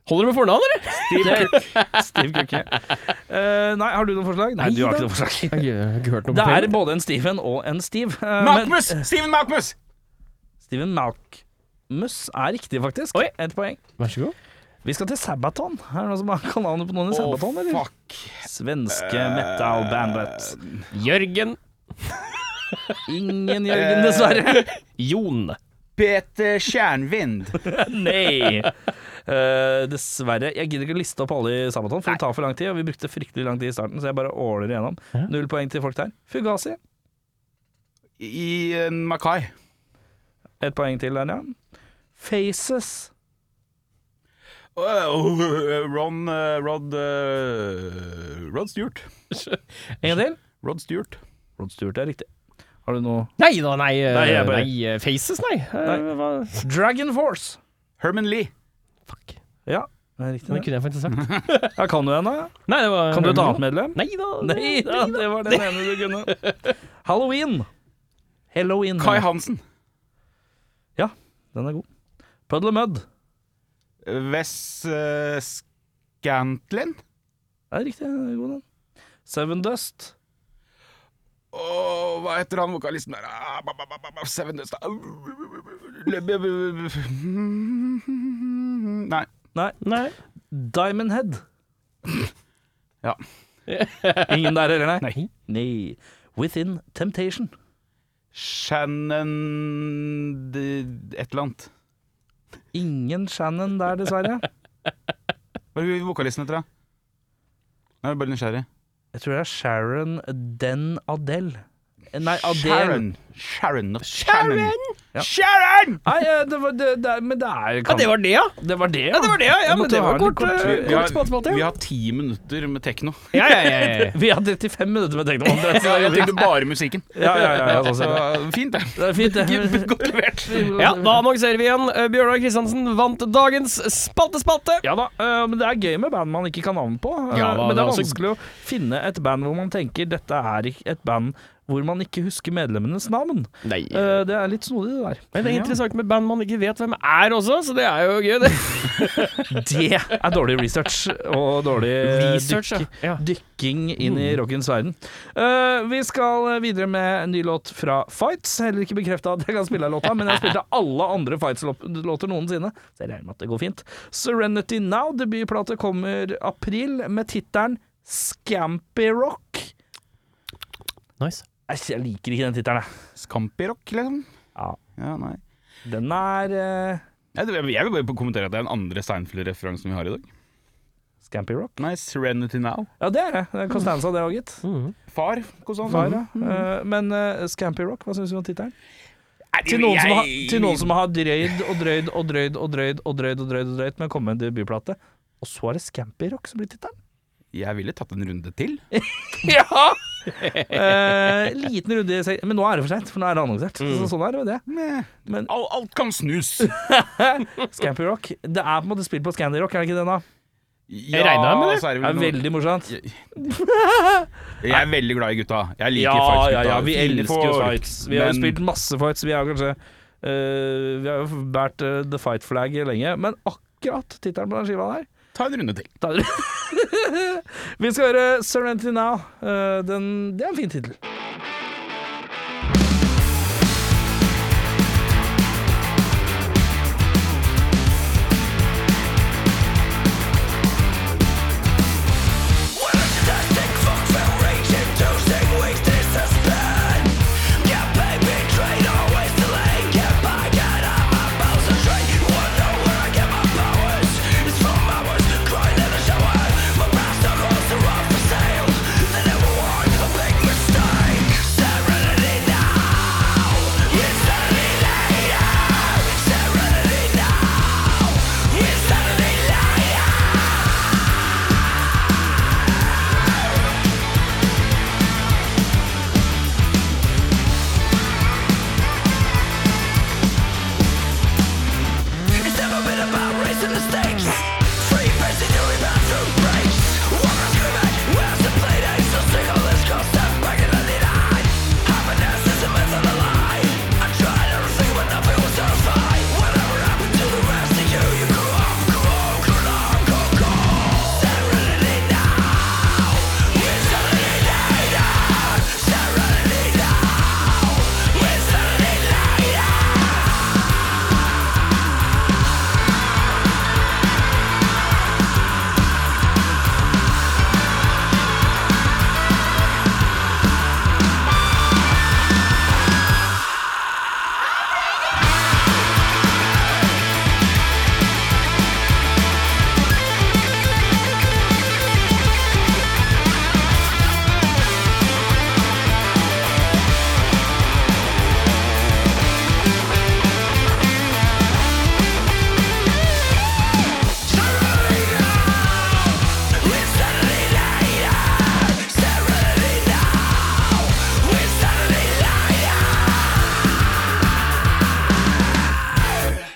Speaker 4: Holder du med fornavn, eller?
Speaker 2: Stiv kukke. Eh, nei, har du noen forslag? Nei, du har ikke noen forslag.
Speaker 4: Jeg har ikke hørt noe
Speaker 2: Det
Speaker 4: på
Speaker 2: er
Speaker 4: det.
Speaker 2: både en Steven og en Steve. eh, men
Speaker 3: Malkmus! Steven Malkmus!
Speaker 2: Steven Malkmus er riktig, faktisk. Oi. Ett poeng.
Speaker 4: Vær så god.
Speaker 2: Vi skal til Sabaton. Er det noen som har- kan navnet på noen i Sabaton? eller?
Speaker 3: fuck.
Speaker 2: Svenske metal-bandet.
Speaker 4: Jørgen
Speaker 2: Ingen Jørgen, dessverre.
Speaker 4: Jon.
Speaker 3: Peter Kjernvind.
Speaker 2: Nei. Eh, dessverre. Jeg gidder ikke å liste opp alle i Sabaton, for det tar for lang tid. Og vi brukte fryktelig lang tid i starten, så jeg bare åler igjennom. Null poeng til folk der. Fugasi.
Speaker 3: I eh, Makai.
Speaker 2: Ett poeng til der, ja. Faces.
Speaker 3: Åh, åh, Ron eh, Rod eh, Rod Stewart.
Speaker 2: En gang til.
Speaker 3: Rod Stewart.
Speaker 2: Rod Stewart er riktig. Har du noe
Speaker 4: Nei da, nei. eh,
Speaker 2: Nei, jeg bare-
Speaker 4: nei, eh, Faces, nei. Eh, hva-
Speaker 2: Dragon Force!
Speaker 3: Herman Lee.
Speaker 4: Fuck.
Speaker 2: Ja, det er
Speaker 4: Det
Speaker 2: riktig.
Speaker 4: kunne jeg faktisk sagt.
Speaker 2: Ja, kan du henne?
Speaker 4: Nei, det var
Speaker 2: Kan du et annet medlem?
Speaker 4: Nei da.
Speaker 2: Nei da, det var den ene du kunne. Halloween. Halloween.
Speaker 3: Kai Hansen.
Speaker 2: Ja, den er god. Puddle of Mud.
Speaker 3: Wes eh, Scantlin.
Speaker 2: Det er riktig. Den er god, den. Seven Dust.
Speaker 3: Åh, hva heter han vokalisten der? Ah, ba, ba, ba, ba, ba, Seven Dust ah, le- be- be- be- Nei.
Speaker 2: Nei.
Speaker 4: Nei.
Speaker 2: Diamond Head.
Speaker 3: Ja.
Speaker 2: Ingen der heller, nei?
Speaker 4: Nei.
Speaker 2: Nei. Within Temptation.
Speaker 3: Shannon de- et eller annet.
Speaker 2: Ingen Shannon der, dessverre.
Speaker 3: Hva er hun vokalisten heter, da? Nå er jeg bare nysgjerrig.
Speaker 2: Jeg tror det er Sharon Den Adele. Nei, Adele.
Speaker 3: Sharon. Sharon. not Shannon.
Speaker 2: Ja.
Speaker 3: Sharon!
Speaker 2: Nei, eh, det var det, det, er- Men det er
Speaker 4: Ja, det var det, ja.
Speaker 2: det var det, ja.
Speaker 4: Ja, det var det, ja. ja
Speaker 2: Jeg
Speaker 4: men
Speaker 2: måtte
Speaker 4: det
Speaker 2: ha
Speaker 4: var
Speaker 2: en
Speaker 4: kort.
Speaker 2: kort-
Speaker 4: eh,
Speaker 3: Vi
Speaker 4: kort spaltespalte,
Speaker 3: har, vi
Speaker 4: ja.
Speaker 3: har ti minutter med tekno.
Speaker 4: Ja, ja, ja, ja, ja.
Speaker 2: Vi har 35 minutter med tekno. omtrent, så det
Speaker 3: Jeg
Speaker 2: er fint.
Speaker 3: tenkte bare musikken.
Speaker 2: Ja, ja, ja, ja, sånn
Speaker 3: Så
Speaker 2: ser det.
Speaker 3: fint, det.
Speaker 2: Det er fint, det.
Speaker 3: Godt levert.
Speaker 4: Ja, da annonserer vi igjen. Eh, Bjørnar Kristiansen vant dagens spaltespalte.
Speaker 2: Ja da, eh, men det er gøy med band man ikke kan navnet på. eh,
Speaker 4: Ja da,
Speaker 2: men det
Speaker 4: det
Speaker 2: er
Speaker 4: er også-
Speaker 2: vanskelig å finne et band hvor man tenker dette er ikke et band hvor man ikke husker medlemmenes navn.
Speaker 4: Nei.
Speaker 2: Eh, Det er litt snodig, det der.
Speaker 4: Men det er interessant med band man ikke vet hvem er også, så det er jo gøy, det.
Speaker 2: Det er dårlig research og dårlig eh,
Speaker 4: Research, ja. ja. Mm.
Speaker 2: dykking inn i rockens verden. Eh, vi skal videre med en ny låt fra Fights. Heller ikke bekrefta at jeg kan spille låta, men jeg spilte alle andre Fights-låter noensinne. Så jeg regner med at det går fint. Serenity Now, debutplate, kommer april med tittelen Scampy Rock.
Speaker 4: Nice.
Speaker 2: Æsj, jeg liker ikke den tittelen, jeg.
Speaker 3: Scampirock, liksom.
Speaker 2: Ja.
Speaker 3: Ja, nei.
Speaker 2: Den er eh,
Speaker 3: Jeg jeg vil bare kommentere at det er den andre Steinfeld-referansen vi har i dag.
Speaker 2: Scampy Rock?
Speaker 3: Nei, Serenity Now.
Speaker 2: Ja, det er det. Det er Costanza, det òg, gitt.
Speaker 3: Far, hvordan
Speaker 2: Far, ja.
Speaker 3: Mhm.
Speaker 2: Eh, men eh, Scampy Rock, hva syns du om tittelen?
Speaker 3: Nei,
Speaker 2: Til noen, som har, til noen som har drøyd og drøyd og drøyd og drøyd og drøyd og drøyd og drøyd med å komme med en debutplate. Og så er det Scampy Rock som blir tittelen.
Speaker 3: Jeg ville tatt en runde til.
Speaker 2: Ja! Eh, liten runde i sek- Men nå er det for seint, for nå er det annonsert.
Speaker 3: Mm.
Speaker 2: Så sånn er det med det. Men
Speaker 3: Al- alt kan snus.
Speaker 2: Scampi Rock Det er på en måte spilt på Scandy Rock, er det ikke det? da?
Speaker 3: Ja,
Speaker 4: regner med det.
Speaker 3: så
Speaker 2: Det er
Speaker 3: er vel noe-
Speaker 2: veldig morsomt.
Speaker 3: Jeg er veldig glad i gutta. Jeg liker
Speaker 2: Ja,
Speaker 3: fights,
Speaker 2: ja,
Speaker 3: gutta.
Speaker 2: ja, vi
Speaker 3: Fine
Speaker 2: elsker jo
Speaker 3: folk.
Speaker 2: fights. Vi har jo
Speaker 3: Men-
Speaker 2: spilt masse fights. Vi har kanskje eh, Vi har jo båret eh, The Fight Flag lenge, men akkurat tittelen på den skiva der
Speaker 3: Ta en runde til.
Speaker 2: Da er det Vi skal høre 'Serenity Now'. Eh, Den, det er en fin tittel.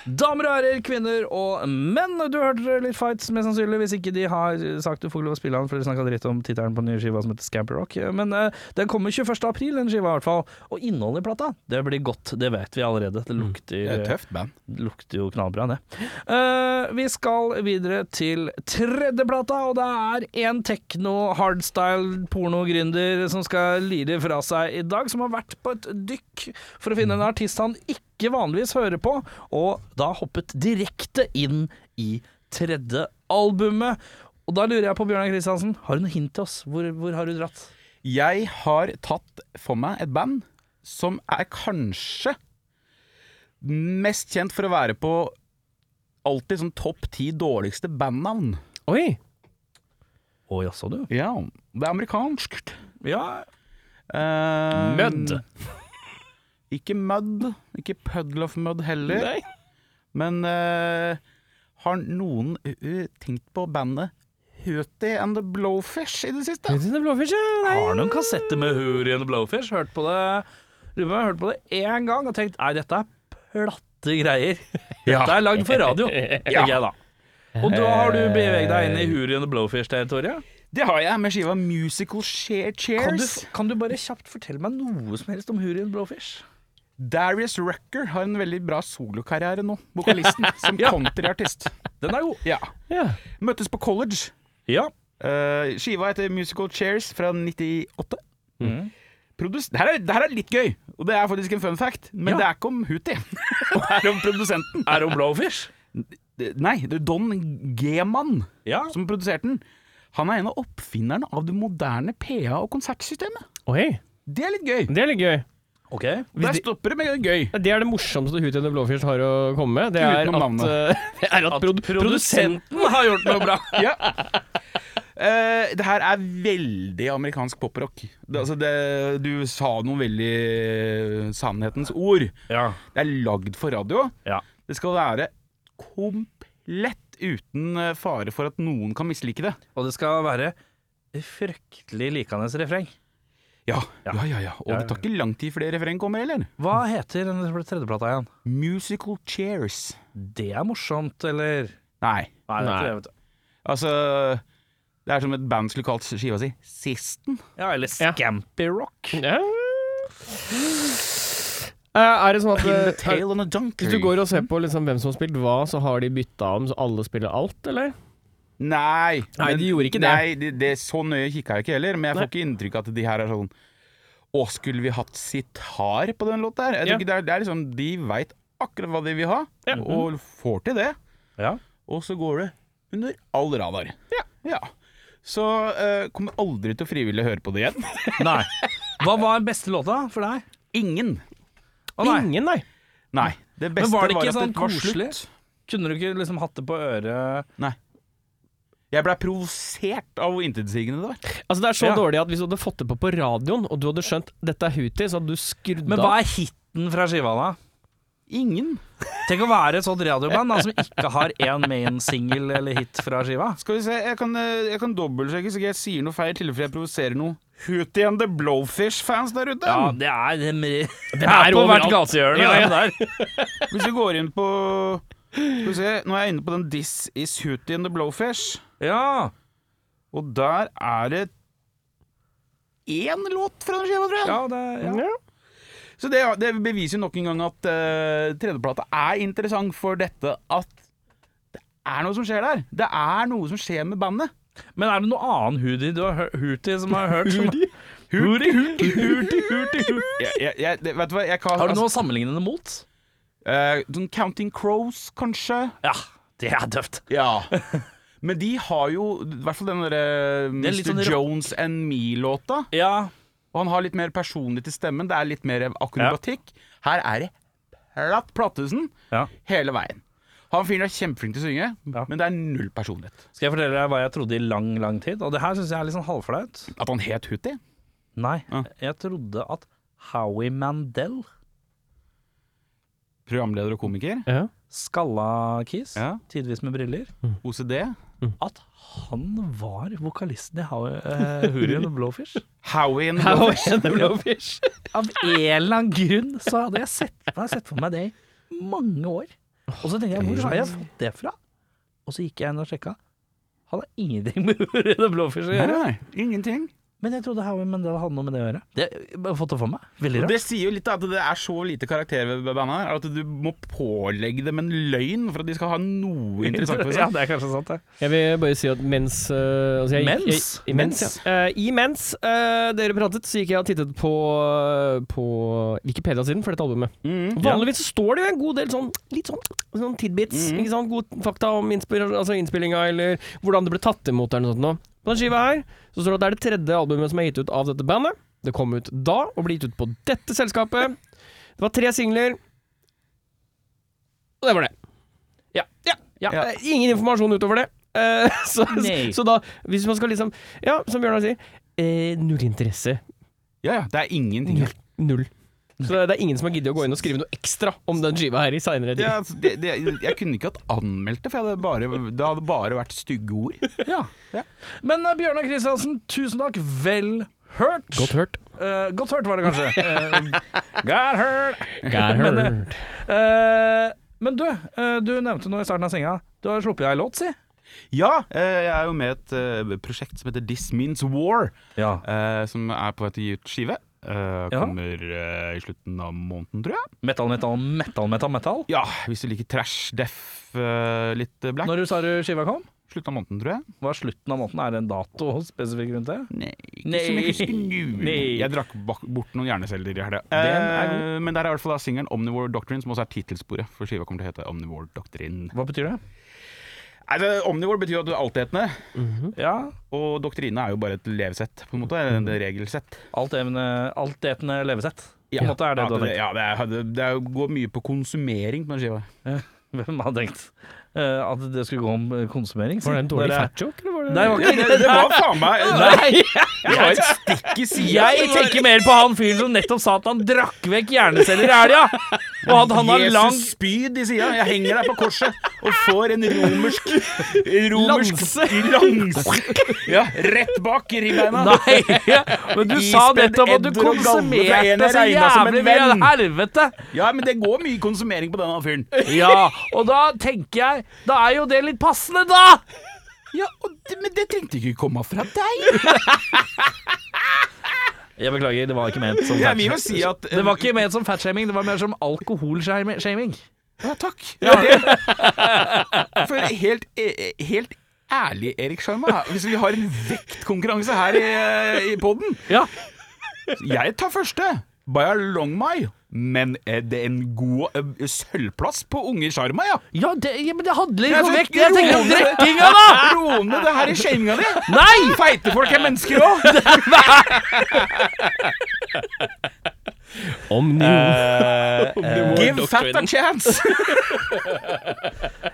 Speaker 2: Damer og herrer, kvinner og menn, du hørte litt fights, mest sannsynlig, hvis ikke de har sagt du får ikke lov å spille den, for de snakka dritt om tittelen på den nye skiva som heter Scamper Rock. Men eh, den kommer 21. april, den skiva i hvert fall. Og innholdet i plata, det blir godt, det vet vi allerede. Det lukter
Speaker 3: Det er et tøft band.
Speaker 2: lukter jo knallbra, det. Eh, vi skal videre til tredjeplata, og det er en tekno, hardstyle, pornogründer som skal lire fra seg i dag, som har vært på et dykk for å finne en artist han ikke vanligvis hører på, og da hoppet direkte inn i tredje albumet. Og da lurer jeg på, Bjørnar Kristiansen, har du noe hint til oss? Hvor, hvor har du dratt?
Speaker 3: Jeg har tatt for meg et band som er kanskje mest kjent for å være på alltid sånn topp ti dårligste bandnavn.
Speaker 4: Oi!
Speaker 2: Å, jaså du?
Speaker 3: Ja, det er amerikansk.
Speaker 2: Ja,
Speaker 3: Eh,
Speaker 4: Mud.
Speaker 3: Ikke Mud. Ikke Puddle of Mud heller.
Speaker 4: Nei.
Speaker 3: Men eh, har noen eh, tenkt på bandet Hootie and the Blowfish i det siste?
Speaker 4: Vet du det, Blåfisk, ja? Nei.
Speaker 2: Har noen kassetter med Huri and the Blowfish? Hørt på det Lurer på om jeg har hørt på det én gang og tenkt nei, dette er platte greier.
Speaker 3: Ja.
Speaker 2: Dette er lagd for radio, tenker jeg da. Og da har du beveget deg inn i Huri and the Blowfish-territoriet.
Speaker 3: Det har jeg med skiva Musical Share
Speaker 2: Kan,
Speaker 3: Cheers.
Speaker 2: du- kan du bare kjapt fortelle meg noe som helst om Huri and the Blowfish?
Speaker 3: Darius Rucker har en veldig bra solokarriere nå, vokalisten, som countryartist.
Speaker 2: Den er god.
Speaker 3: Ja.
Speaker 4: Ja.
Speaker 3: Møttes på college.
Speaker 2: Ja.
Speaker 3: Eh, skiva heter Musical Chairs fra 98. Produs det, her er, det her er litt gøy, og det er faktisk en fun fact, men
Speaker 2: Ja.
Speaker 3: det er ikke om Hootie. det er om produsenten.
Speaker 2: Er det om Blowfish?
Speaker 3: Det- Nei, det er Don Geman
Speaker 2: Ja.
Speaker 3: som produserte den. Han er en av oppfinnerne av det moderne PA- og konsertsystemet.
Speaker 4: Oi,
Speaker 3: Det er litt gøy.
Speaker 4: det er litt gøy.
Speaker 2: OK.
Speaker 3: Der stopper det med gøy.
Speaker 4: Det er det morsomste Hootie and the Blowfish har å komme med. Det er
Speaker 3: Utenom
Speaker 4: at,
Speaker 3: navnet.
Speaker 4: eh, det er at, prod produsent
Speaker 2: har gjort noe bra.
Speaker 3: ja. Eh, det her er veldig amerikansk poprock. Det- Altså det- du sa noen veldig sannhetens ord.
Speaker 2: Ja.
Speaker 3: Det er lagd for radio.
Speaker 2: Ja.
Speaker 3: Det skal være komplett uten eh, fare for at noen kan mislike det.
Speaker 2: Og det skal være fryktelig likende refreng.
Speaker 3: Ja, ja, ja. ja. Og det tar ikke lang tid før det refrenget kommer, heller.
Speaker 2: Hva heter den tredjeplata igjen?
Speaker 3: Musical chairs.
Speaker 2: Det er morsomt, eller?
Speaker 3: Nei.
Speaker 2: Nei, det
Speaker 4: Nei.
Speaker 2: tror jeg, vet du.
Speaker 3: Altså Det er som et band skulle kalt skiva si Sisten.
Speaker 2: Ja, eller
Speaker 4: Ja.
Speaker 2: Scampy Rock.
Speaker 4: Ja. Eh, er det sånn at
Speaker 3: In the
Speaker 4: eh, er-
Speaker 3: tail on a donkey.
Speaker 4: Hvis du går og ser på liksom hvem som har spilt hva, så har de bytta om så alle spiller alt, eller?
Speaker 3: Nei.
Speaker 4: Nei, de gjorde ikke det.
Speaker 3: Nei, det, det Så nøye kikka jeg ikke heller, men jeg får
Speaker 4: Nei.
Speaker 3: ikke inntrykk av at de her er sånn Å, skulle vi hatt sitar på den låta her? Jeg
Speaker 4: Ja.
Speaker 3: tror ikke det, er, det er liksom De veit akkurat hva de vil ha, og
Speaker 4: Mhm.
Speaker 3: får til det.
Speaker 2: Ja.
Speaker 3: Og så går det under all radar. Ja. Så eh, kommer aldri til å frivillig høre på det igjen.
Speaker 2: Nei. Hva var beste låta for deg?
Speaker 3: Ingen.
Speaker 2: Å, nei.
Speaker 4: Ingen, nei.
Speaker 3: Nei. Det beste
Speaker 2: Men var
Speaker 3: var,
Speaker 2: det ikke
Speaker 3: at
Speaker 2: sånn
Speaker 3: det var
Speaker 2: koselig?
Speaker 3: slutt.
Speaker 2: Kunne du ikke liksom hatt det på øret
Speaker 3: Nei. Jeg blei provosert av hvor intetsigende det var.
Speaker 4: Altså Det er så
Speaker 2: Ja.
Speaker 4: dårlig at hvis du hadde fått det på på radioen, og du hadde skjønt dette er Houthi, så hadde du skrudd
Speaker 2: Men hva er hiten fra skiva, da?
Speaker 3: Ingen.
Speaker 2: Tenk å være et sånt radioband da, som ikke har én main single eller hit fra skiva.
Speaker 3: Skal vi se, jeg kan, eh, jeg kan dobbeltsjekke så ikke jeg sier noe feil i tilfelle jeg provoserer noe. Hootie and the Blowfish-fans der ute.
Speaker 2: Ja, det er Mm. Det
Speaker 4: er
Speaker 2: er på hvert
Speaker 4: overalt.
Speaker 2: gatehjørne.
Speaker 4: Ja, ja.
Speaker 2: det der.
Speaker 3: Hvis vi går inn på Skal vi se, nå er jeg inne på den This is Hootie and the Blowfish,
Speaker 2: Ja.
Speaker 3: og der er det én låt fra den skiva, tror jeg.
Speaker 2: ja, det ja.
Speaker 3: Så det, det beviser jo nok en gang at eh, tredjeplata er interessant for dette at det er noe som skjer der. Det er noe som skjer med bandet.
Speaker 2: Men er det noe annen hoodie du har hørt, hootie som har hørt? Hoodie? Hoodie, hoodie, hoodie, hoodie, hoodie.
Speaker 3: Jeg, jeg, jeg, det- vet du hva, jeg kan
Speaker 2: Har du noe å sammenligne det mot?
Speaker 3: Eh, sånn Counting Crows, kanskje?
Speaker 2: Ja, det er døvt.
Speaker 3: Ja. Men de har jo I hvert fall den derre
Speaker 2: Det er
Speaker 3: Mr.
Speaker 2: litt sånn rock-
Speaker 3: Jones and Me-låta.
Speaker 2: Ja.
Speaker 3: Og han har litt mer personlighet i stemmen. Det er litt mer akrobatikk. Her er det platt Plattesen
Speaker 2: Ja.
Speaker 3: hele veien. Han fyren er kjempeflink til å synge,
Speaker 2: Ja.
Speaker 3: men det er null personlighet.
Speaker 2: Skal jeg fortelle deg hva jeg trodde i lang, lang tid? Og det her syns jeg er litt sånn halvflaut.
Speaker 3: At han het Hutti?
Speaker 2: Nei,
Speaker 3: Ja.
Speaker 2: jeg trodde at Howie Mandel,
Speaker 3: Programleder og komiker.
Speaker 4: Ja.
Speaker 2: skalla kis,
Speaker 3: Ja.
Speaker 2: tidvis med briller,
Speaker 3: OCD.
Speaker 2: at han var vokalisten i Howie, eh, Hootie and the Blowfish.
Speaker 3: Howie and the
Speaker 4: How
Speaker 3: Blowfish.
Speaker 4: and the blowfish.
Speaker 2: Av en eller annen grunn så hadde jeg sett, hadde jeg sett for meg det i mange år. Og så tenkte jeg, hvor har jeg fått det fra? Og så gikk jeg inn og sjekka. Han har ingenting med Hootie and the Blowfish å
Speaker 3: Nei,
Speaker 2: gjøre.
Speaker 3: nei, ingenting.
Speaker 2: Men jeg trodde Howie Mandel hadde noe med det å gjøre. Det jeg har fått det for meg. Veldig rart.
Speaker 3: Det sier jo litt da, at det er så lite karakter ved bandet her, at du må pålegge dem en løgn for at de skal ha noe interessant for seg.
Speaker 2: Ja, det er kanskje sant, det.
Speaker 4: Jeg vil bare si at mens eh, altså jeg,
Speaker 2: Mens?
Speaker 4: Jeg, mens, ja. Eh, imens eh, dere pratet, så gikk jeg og tittet på, eh, på Wikipedia-siden for dette albumet. Vanligvis så står det jo en god del sånn, litt sånn, sånn tidbits. Ikke sant? God fakta om innspir- altså innspillinga, eller hvordan det ble tatt imot. Eller noe sånt. noe. På den skiva her så står det at det er det tredje albumet som er gitt ut av dette bandet. Det kom ut da, og ble gitt ut på dette selskapet. Det var tre singler, og det var det. Ja. ja, ja.
Speaker 3: Ja.
Speaker 4: Eh, Ingen informasjon utover det. Eh, så,
Speaker 2: Nei.
Speaker 4: så da, hvis man skal liksom Ja, som Bjørnar sier, eh, null interesse.
Speaker 3: Ja, ja, det er ingenting.
Speaker 4: Null. null. Så det, det er ingen som har giddet å gå inn og skrive noe ekstra om den skiva her i seinere tid.
Speaker 3: Ja, altså, det, det, jeg kunne ikke hatt anmeldt det, for jeg hadde bare, det hadde bare vært stygge ord.
Speaker 2: Ja. Men eh, Bjørnar Kristiansen, tusen takk. Vel hørt.
Speaker 4: Godt hørt.
Speaker 2: Eh, godt hørt var det kanskje. Eh, got heard.
Speaker 4: Men,
Speaker 2: det-
Speaker 4: eh,
Speaker 2: Eh, men du, eh, du nevnte noe i starten av senga. Du har sluppet deg en låt, si.
Speaker 3: Ja, eh, jeg er jo med i et eh, prosjekt som heter This Means War,
Speaker 2: Ja.
Speaker 3: eh, som er på vei til å gi ut skive. Eh,
Speaker 2: Ja.
Speaker 3: Kommer eh, i slutten av måneden, tror jeg.
Speaker 2: Metal, metal, metal, metal, metal.
Speaker 3: Ja, hvis du liker trash, deff, eh, litt eh, black.
Speaker 2: Når du sa du skiva kom?
Speaker 3: Slutten av måneden, tror jeg.
Speaker 2: Var slutten av måneden? Er det en dato spesifikk rundt det?
Speaker 3: Nei, ikke
Speaker 2: Nei.
Speaker 3: som jeg husker nå.
Speaker 2: Nei.
Speaker 3: Jeg drakk bak- bort noen hjerneceller i helga.
Speaker 2: er
Speaker 3: Eh, men der er i hvert fall da singelen Omnivore Doctrine, som også er tittelsporet. For skiva kommer til å hete Omnivore Doctrine.
Speaker 2: Hva betyr det?
Speaker 3: Altså, Omnivore betyr jo at du er altetende.
Speaker 2: Mm. Ja,
Speaker 3: Og doktrine er jo bare et levesett, på en måte. eller Et regelsett.
Speaker 2: altetende alt etende levesett. På en måte er det
Speaker 3: ja,
Speaker 2: du har tenkt.
Speaker 3: Ja, det, er, det, er, jo- går mye på konsumering på den skiva.
Speaker 2: Hvem hadde tenkt eh, at det skulle gå om eh, konsumering? si?
Speaker 4: var det en dårlig
Speaker 2: Dere-
Speaker 4: fat joke, eller var det
Speaker 2: Nei, det var ikke
Speaker 3: Det var faen meg
Speaker 2: Nei!
Speaker 3: Det var et stikk i sida!
Speaker 2: Jeg tenker mer på han fyren som nettopp sa at han drakk vekk hjerneceller i helga. Og hadde han har
Speaker 3: Jesus
Speaker 2: lang
Speaker 3: spyd i sida. Jeg henger der på korset og får en romersk Romersk
Speaker 4: Lanse.
Speaker 3: lanse. Ja, rett bak i ribbeina.
Speaker 2: Nei, men du sa
Speaker 3: Ispedd
Speaker 2: nettopp at du
Speaker 3: edder og galle fra en
Speaker 2: konsumerte
Speaker 3: jeg
Speaker 2: så
Speaker 3: regnet som en
Speaker 2: jævlig mye.
Speaker 3: venn.
Speaker 2: Helvete!
Speaker 3: Ja, men det går mye konsumering på denne fyren.
Speaker 2: Ja, og da tenker jeg Da er jo det litt passende, da!
Speaker 3: Ja, og det, Men det trengte ikke komme fra deg.
Speaker 2: Jeg beklager, det var ikke ment som
Speaker 3: Jeg vil jo si at
Speaker 2: Det var ikke ment som fatshaming, det var mer som alkoholshaming.
Speaker 3: Ja, takk. Ja, det. For helt, eh, helt ærlig, Erik Sjarma, hvis vi har en vektkonkurranse her i, eh, i poden
Speaker 2: Ja.
Speaker 3: Jeg tar første. By a long my. Men er det en god eh, sølvplass på unge Sjarma, ja?
Speaker 2: Ja, det, ja, men det handler
Speaker 3: Jeg
Speaker 2: ikke om
Speaker 3: tenker
Speaker 2: vekt. Jeg tenker om
Speaker 3: rolig.
Speaker 2: drikkinga, da!
Speaker 3: Ro ned det her i shaminga di.
Speaker 2: Nei!
Speaker 3: Feite folk er mennesker òg.
Speaker 4: Om
Speaker 3: Eh, Give fat a chance.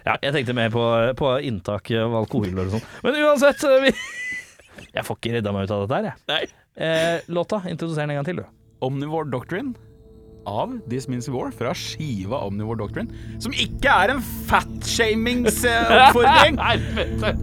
Speaker 2: Ja, jeg tenkte mer på, på inntak av alkohol og sånn. Men uansett vi Jeg får ikke redda meg ut av dette her, jeg.
Speaker 4: Nei.
Speaker 2: Eh, låta, introduser den en gang til, du.
Speaker 3: Omnivore Doctrine av This Means War fra skiva Omnivore Doctrine, som ikke er en eh, fatshamingsoppfordring.
Speaker 2: Helvete!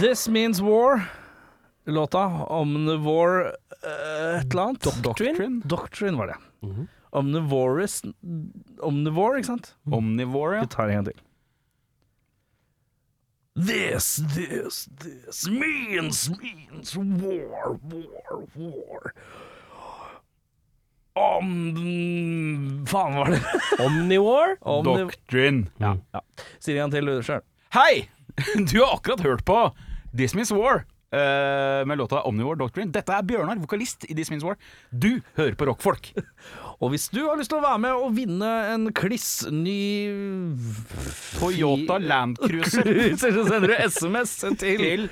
Speaker 2: This Means War. Låta Omnivore eh, et eller annet.
Speaker 4: Doctrine?
Speaker 2: Doctrine var det. Omnivorous Omnivore, ikke sant?
Speaker 3: Omnivore,
Speaker 2: Vi tar en gang til. This, this, this means, means war, war, war. Om Faen, var det
Speaker 4: Omniwar?
Speaker 3: ja.
Speaker 2: Omni...
Speaker 3: Doctrine.
Speaker 2: Si det en gang til, du sjøl.
Speaker 3: Hei! Du har akkurat hørt på This Means War eh, med låta Omnivore Doctrine. Dette er Bjørnar, vokalist i This Means War. Du hører på rockfolk.
Speaker 2: Og hvis du har lyst til å være med og vinne en kliss ny
Speaker 3: Toyota Land Cruiser
Speaker 2: Cruiser, så sender du SMS til
Speaker 3: til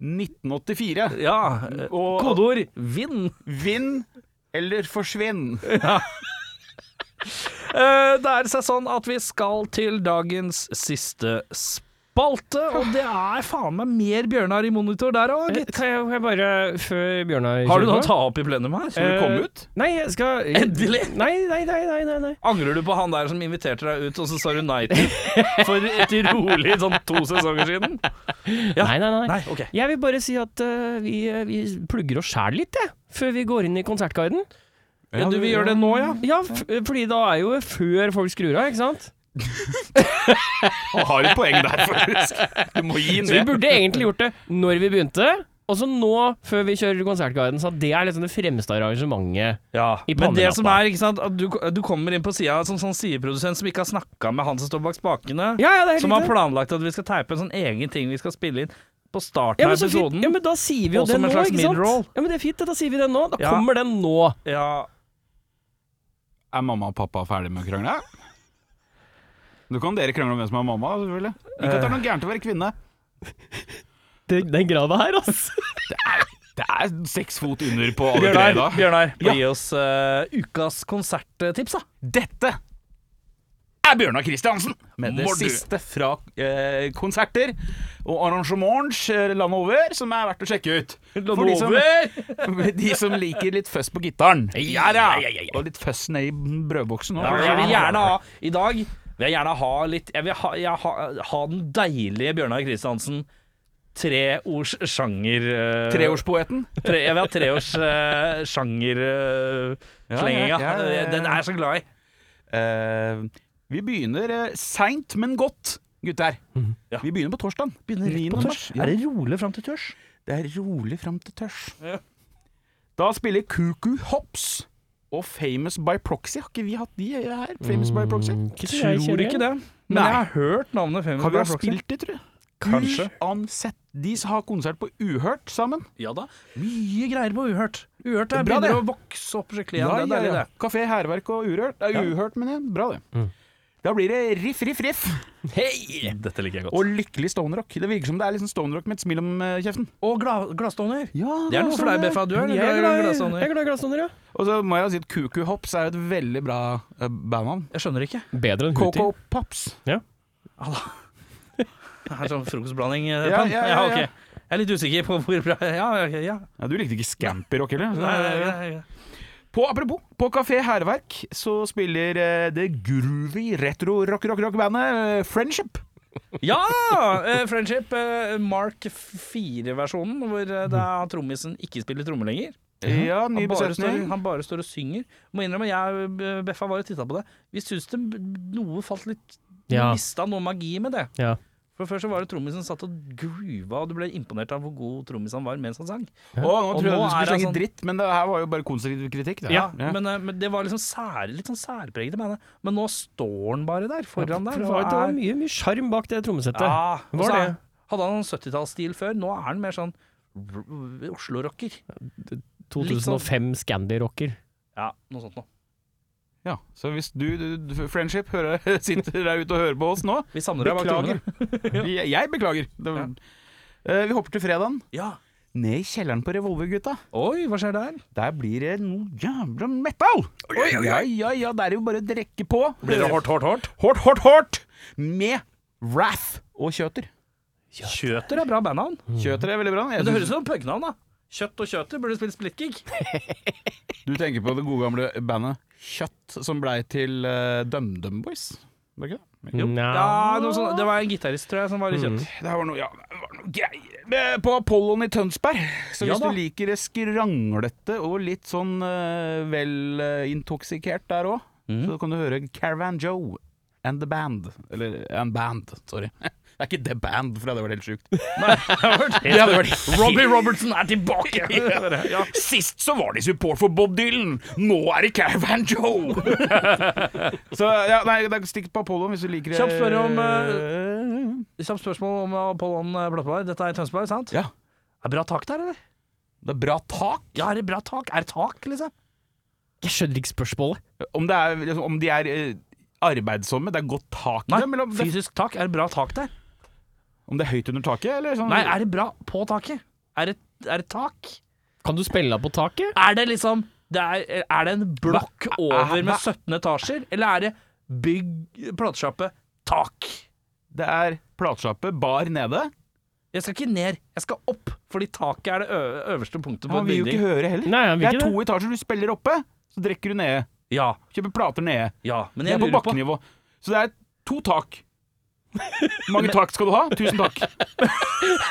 Speaker 3: 1984.
Speaker 2: Ja. eh,
Speaker 3: Og-
Speaker 2: Kodeord 'vinn'.
Speaker 3: Vinn eller forsvinn.
Speaker 2: Eh, Det er seg sånn at vi skal til dagens siste spalte, og det er faen meg mer Bjørnar i monitor der òg, gitt.
Speaker 4: Kan jeg, kan jeg bare, før Bjørnar
Speaker 2: Har du noe å
Speaker 4: kjører Eh, på?
Speaker 2: ta opp i plenum her?
Speaker 3: Når du kom
Speaker 4: Eh,
Speaker 3: ut?
Speaker 4: Nei, jeg skal
Speaker 2: Endelig!
Speaker 4: Nei, nei, nei, nei, nei, nei.
Speaker 2: Angrer du på han der som inviterte deg ut, og så sa du nei til for et rolig sånn to sesonger siden?
Speaker 4: nei, nei, nei.
Speaker 2: Nei, ok.
Speaker 4: Jeg vil bare si at eh, vi, eh, vi plugger oss sjæl litt, jeg. Før vi går inn i konsertguiden.
Speaker 2: Ja, du vil gjøre det nå, ja?
Speaker 4: Ja, f fordi da er jo før folk skrur av, ikke sant?
Speaker 3: Og har et poeng der, faktisk. Du må gi inn
Speaker 4: Så vi
Speaker 3: det.
Speaker 4: burde egentlig gjort det når vi begynte. Og så nå, før vi kjører konsertguiden, så det er liksom det fremste arrangementet.
Speaker 2: Ja,
Speaker 4: I
Speaker 2: men det
Speaker 4: pannelappa.
Speaker 2: som er, ikke sant, at du, du kommer inn på sida som sånn sideprodusent som ikke har snakka med han som står bak spakene,
Speaker 4: Ja, ja, det er helt
Speaker 2: som har
Speaker 4: riktig.
Speaker 2: planlagt at vi skal teipe en sånn egen ting vi skal spille inn på starten
Speaker 4: Ja,
Speaker 2: av
Speaker 4: men så fint.
Speaker 2: episoden.
Speaker 4: Ja, men da sier vi jo
Speaker 2: Og
Speaker 4: den
Speaker 2: som
Speaker 4: nå,
Speaker 2: en slags
Speaker 4: ikke
Speaker 2: mid-roll.
Speaker 4: sant? Ja, men det er fint, da sier vi den nå. Da
Speaker 2: Ja.
Speaker 4: kommer den nå.
Speaker 2: Ja,
Speaker 3: Er mamma og pappa ferdig med å krangle? Nå kan dere krangle om hvem som er mamma, selvfølgelig. Ikke at det er noe gærent å være kvinne.
Speaker 4: Den, den grava her, altså.
Speaker 3: Det er seks fot under på alle tre
Speaker 2: Bjørnar,
Speaker 3: da.
Speaker 2: Bjørnar gi oss eh, ukas konserttips, da.
Speaker 3: Dette er Bjørnar Kristiansen med det
Speaker 2: Må du.
Speaker 3: siste fra eh, konserter og arrangements eh, landet over, som er verdt å sjekke ut. For de som, de som liker litt føss på gitaren. Ja da! Og litt føss ned i brødboksen
Speaker 2: Ja,
Speaker 3: òg.
Speaker 2: jeg vil gjerne ha I dag vil jeg gjerne ha litt Jeg vil ha, jeg ha, ha den deilige Bjørnar Kristiansen. Treords sjanger eh,
Speaker 3: Treårspoeten.
Speaker 2: tre, Jeg vil ha treords uh, sjangerslenginga.
Speaker 3: Ja, ja, ja, ja, ja.
Speaker 2: eh, Den er jeg så glad i.
Speaker 3: Eh, vi begynner eh, seint, men godt, gutter.
Speaker 2: Ja.
Speaker 3: Vi begynner på torsdag.
Speaker 2: Mhm. På tørs. Er det rolig fram til tørs?
Speaker 3: Det er rolig fram til tørs. Da spiller Cuckoo Hops og Famous by Proxy. Har ikke vi hatt de her? Famous by Proxy?
Speaker 2: Mm.
Speaker 4: Mm,
Speaker 2: Tror ikke det. Men
Speaker 3: Nei.
Speaker 2: jeg har hørt navnet Famous
Speaker 3: Har vi
Speaker 2: Bar
Speaker 3: ha
Speaker 2: Proxy.
Speaker 3: spilt de, tror jeg?
Speaker 2: Kanskje.
Speaker 3: Uansett, de har konsert på Uhørt sammen.
Speaker 2: Ja da. Mye greier på Uhørt. Uhørt
Speaker 3: Det
Speaker 2: er
Speaker 3: er bra,
Speaker 2: begynner
Speaker 3: det.
Speaker 2: å vokse opp skikkelig igjen. det er deilig, det.
Speaker 3: Kafé Hærverk og Urørt. Det er Uhørt, men det er bra, det.
Speaker 2: Mm.
Speaker 3: Da blir det riff, riff, riff
Speaker 2: Hei! Dette liker jeg godt.
Speaker 3: og lykkelig stonerock. Det virker som det er liksom stonerock med et smil om eh, kjeften.
Speaker 2: Og, og gla glassdoner.
Speaker 3: Ja,
Speaker 2: altså Det er noe for deg, Beffa. Du er glad i
Speaker 4: Jeg
Speaker 2: glassdoner.
Speaker 4: er glad i glassånder, ja.
Speaker 3: Og så må jeg jo si at Cuckoo Hops er jo et veldig bra eh, bandnavn.
Speaker 2: Jeg skjønner ikke.
Speaker 4: Bedre enn Hootie.
Speaker 3: Coco Pops.
Speaker 2: Det er sånn frokostblanding. eh,
Speaker 3: Ja,
Speaker 2: Pen.
Speaker 3: ja, ja,
Speaker 2: ok.
Speaker 3: ja.
Speaker 2: Jeg er litt usikker på hvor bra Ja, ok, ja.
Speaker 3: Ja, du likte ikke Scampirock heller? så-
Speaker 2: Nei, ja, ja.
Speaker 3: På Apropos, på Kafé Hærverk så spiller eh, det groovy retro-rock-rock-rock-bandet eh, Friendship.
Speaker 2: ja eh, Friendship, eh, Mark 4-versjonen, hvor eh, det er trommisen ikke spiller tromme lenger.
Speaker 3: Ja, ny
Speaker 2: Han bare, står,
Speaker 3: besetning.
Speaker 2: han bare står og synger. Må innrømme, jeg og eh, Beffa var og titta på det. Vi syns det noe falt litt
Speaker 4: Ja.
Speaker 2: Mista noe magi med det.
Speaker 4: Ja.
Speaker 2: For Før så var det trommisen satt og gruva, og du ble imponert av hvor god trommis han var mens han sang.
Speaker 3: Å, nå
Speaker 2: Og
Speaker 3: tror
Speaker 2: nå
Speaker 3: jeg du
Speaker 2: er
Speaker 3: skulle
Speaker 2: det
Speaker 3: slenge
Speaker 2: sånn-
Speaker 3: dritt, men det her var jo bare konstruktiv kritikk. Det.
Speaker 2: Ja, Men, eh, men det var liksom sær, litt sånn særpreget av bandet. Men nå står han bare der, foran
Speaker 4: For
Speaker 2: der.
Speaker 4: det
Speaker 2: og
Speaker 4: var, det var
Speaker 2: er-
Speaker 4: mye, mye sjarm bak det trommesettet.
Speaker 2: Ja, og
Speaker 4: Var
Speaker 2: så er-
Speaker 4: det?
Speaker 2: Hadde han en 70-tallsstil før, nå er han mer sånn r- r- Oslo-rocker.
Speaker 4: 2005 Scandi-rocker.
Speaker 2: Ja, noe sånt noe.
Speaker 3: Ja, Så hvis du, du, du Friendship hører, sitter der ute og hører på oss nå,
Speaker 2: Vi savner deg bak
Speaker 3: beklager.
Speaker 2: trommene.
Speaker 3: Jeg, jeg beklager. Det, var- Eh, vi hopper til fredagen.
Speaker 2: Ja.
Speaker 3: Ned i kjelleren på Revolver, gutta.
Speaker 2: Oi, hva skjer der?
Speaker 3: Der blir det noe jævla metal! Ja, ja, ja, det er jo bare å drekke på. Blir det hardt, hardt, hardt? Hardt, hardt, hardt! Med Wrath og Kjøter.
Speaker 2: Kjøter er bra bandnavn.
Speaker 3: Kjøter er veldig bra. Jeg
Speaker 2: Mm. Men det høres ut
Speaker 3: synes,
Speaker 2: som punknavn, da. Kjøtt og Kjøter burde spilt splitkick.
Speaker 3: du tenker på det gode gamle bandet Kjøtt, som blei til eh, DumDum Boys. Var det ikke det?
Speaker 4: Mm,
Speaker 2: Ja, noe sånt. Det var en gitarist, tror jeg, som var litt kjent.
Speaker 3: Det her var noe, ja, det var noe greier Eh, på Apollon i Tønsberg. Så
Speaker 2: Ja
Speaker 3: hvis
Speaker 2: da.
Speaker 3: du liker det skranglete og litt sånn eh, vel eh, intoksikert der òg,
Speaker 2: Mhm.
Speaker 3: så kan du høre Caravan Joe and The Band. Eller And Band, sorry. Det er ikke The Band, for det hadde vært helt sjukt. Det hadde vært helt-
Speaker 2: Robbie Robertson er tilbake! ja.
Speaker 3: Sist så var de support for Bob Dylan, nå er det Caravan Joe! så ja, nei, det er stikk på Apollon hvis du liker det.
Speaker 2: Kjapt spørre om, eh, Kjapt spørsmål om Apollon Blattberg. Dette er i Tønsberg, sant?
Speaker 3: Ja.
Speaker 2: Er det bra tak der, eller?
Speaker 3: Det er bra tak.
Speaker 2: Ja, er det bra tak? Er det tak, liksom?
Speaker 4: Jeg skjønner ikke spørsmålet.
Speaker 3: Om, det er, liksom, om de er eh, arbeidsomme, det er godt tak i
Speaker 2: Nei,
Speaker 3: dem, eller om det,
Speaker 2: fysisk tak. Er det bra tak der?
Speaker 3: om det er høyt under taket, eller sånn?
Speaker 2: Nei, er det bra på taket? Er det, er det tak?
Speaker 4: Kan du spille av på taket?
Speaker 2: Er det liksom det er, er det en blokk over med 17 etasjer, eller er det bygg platesjappe tak?
Speaker 3: Det er platesjappe, bar nede.
Speaker 2: Jeg skal ikke ned, jeg skal opp, fordi taket er det ø- øverste punktet på
Speaker 3: Han
Speaker 2: en
Speaker 3: vil jo ikke
Speaker 2: bygning.
Speaker 3: høre heller.
Speaker 4: Nei, han vil
Speaker 3: det er
Speaker 4: ikke
Speaker 3: to etasjer, du spiller oppe, så drikker du nede.
Speaker 2: Ja,
Speaker 3: Kjøper plater nede.
Speaker 2: ja, men
Speaker 3: Det
Speaker 2: jeg
Speaker 3: er på
Speaker 2: lurer på
Speaker 3: bakkenivå. Så det er to tak. Hvor mange tak skal du ha? Tusen takk.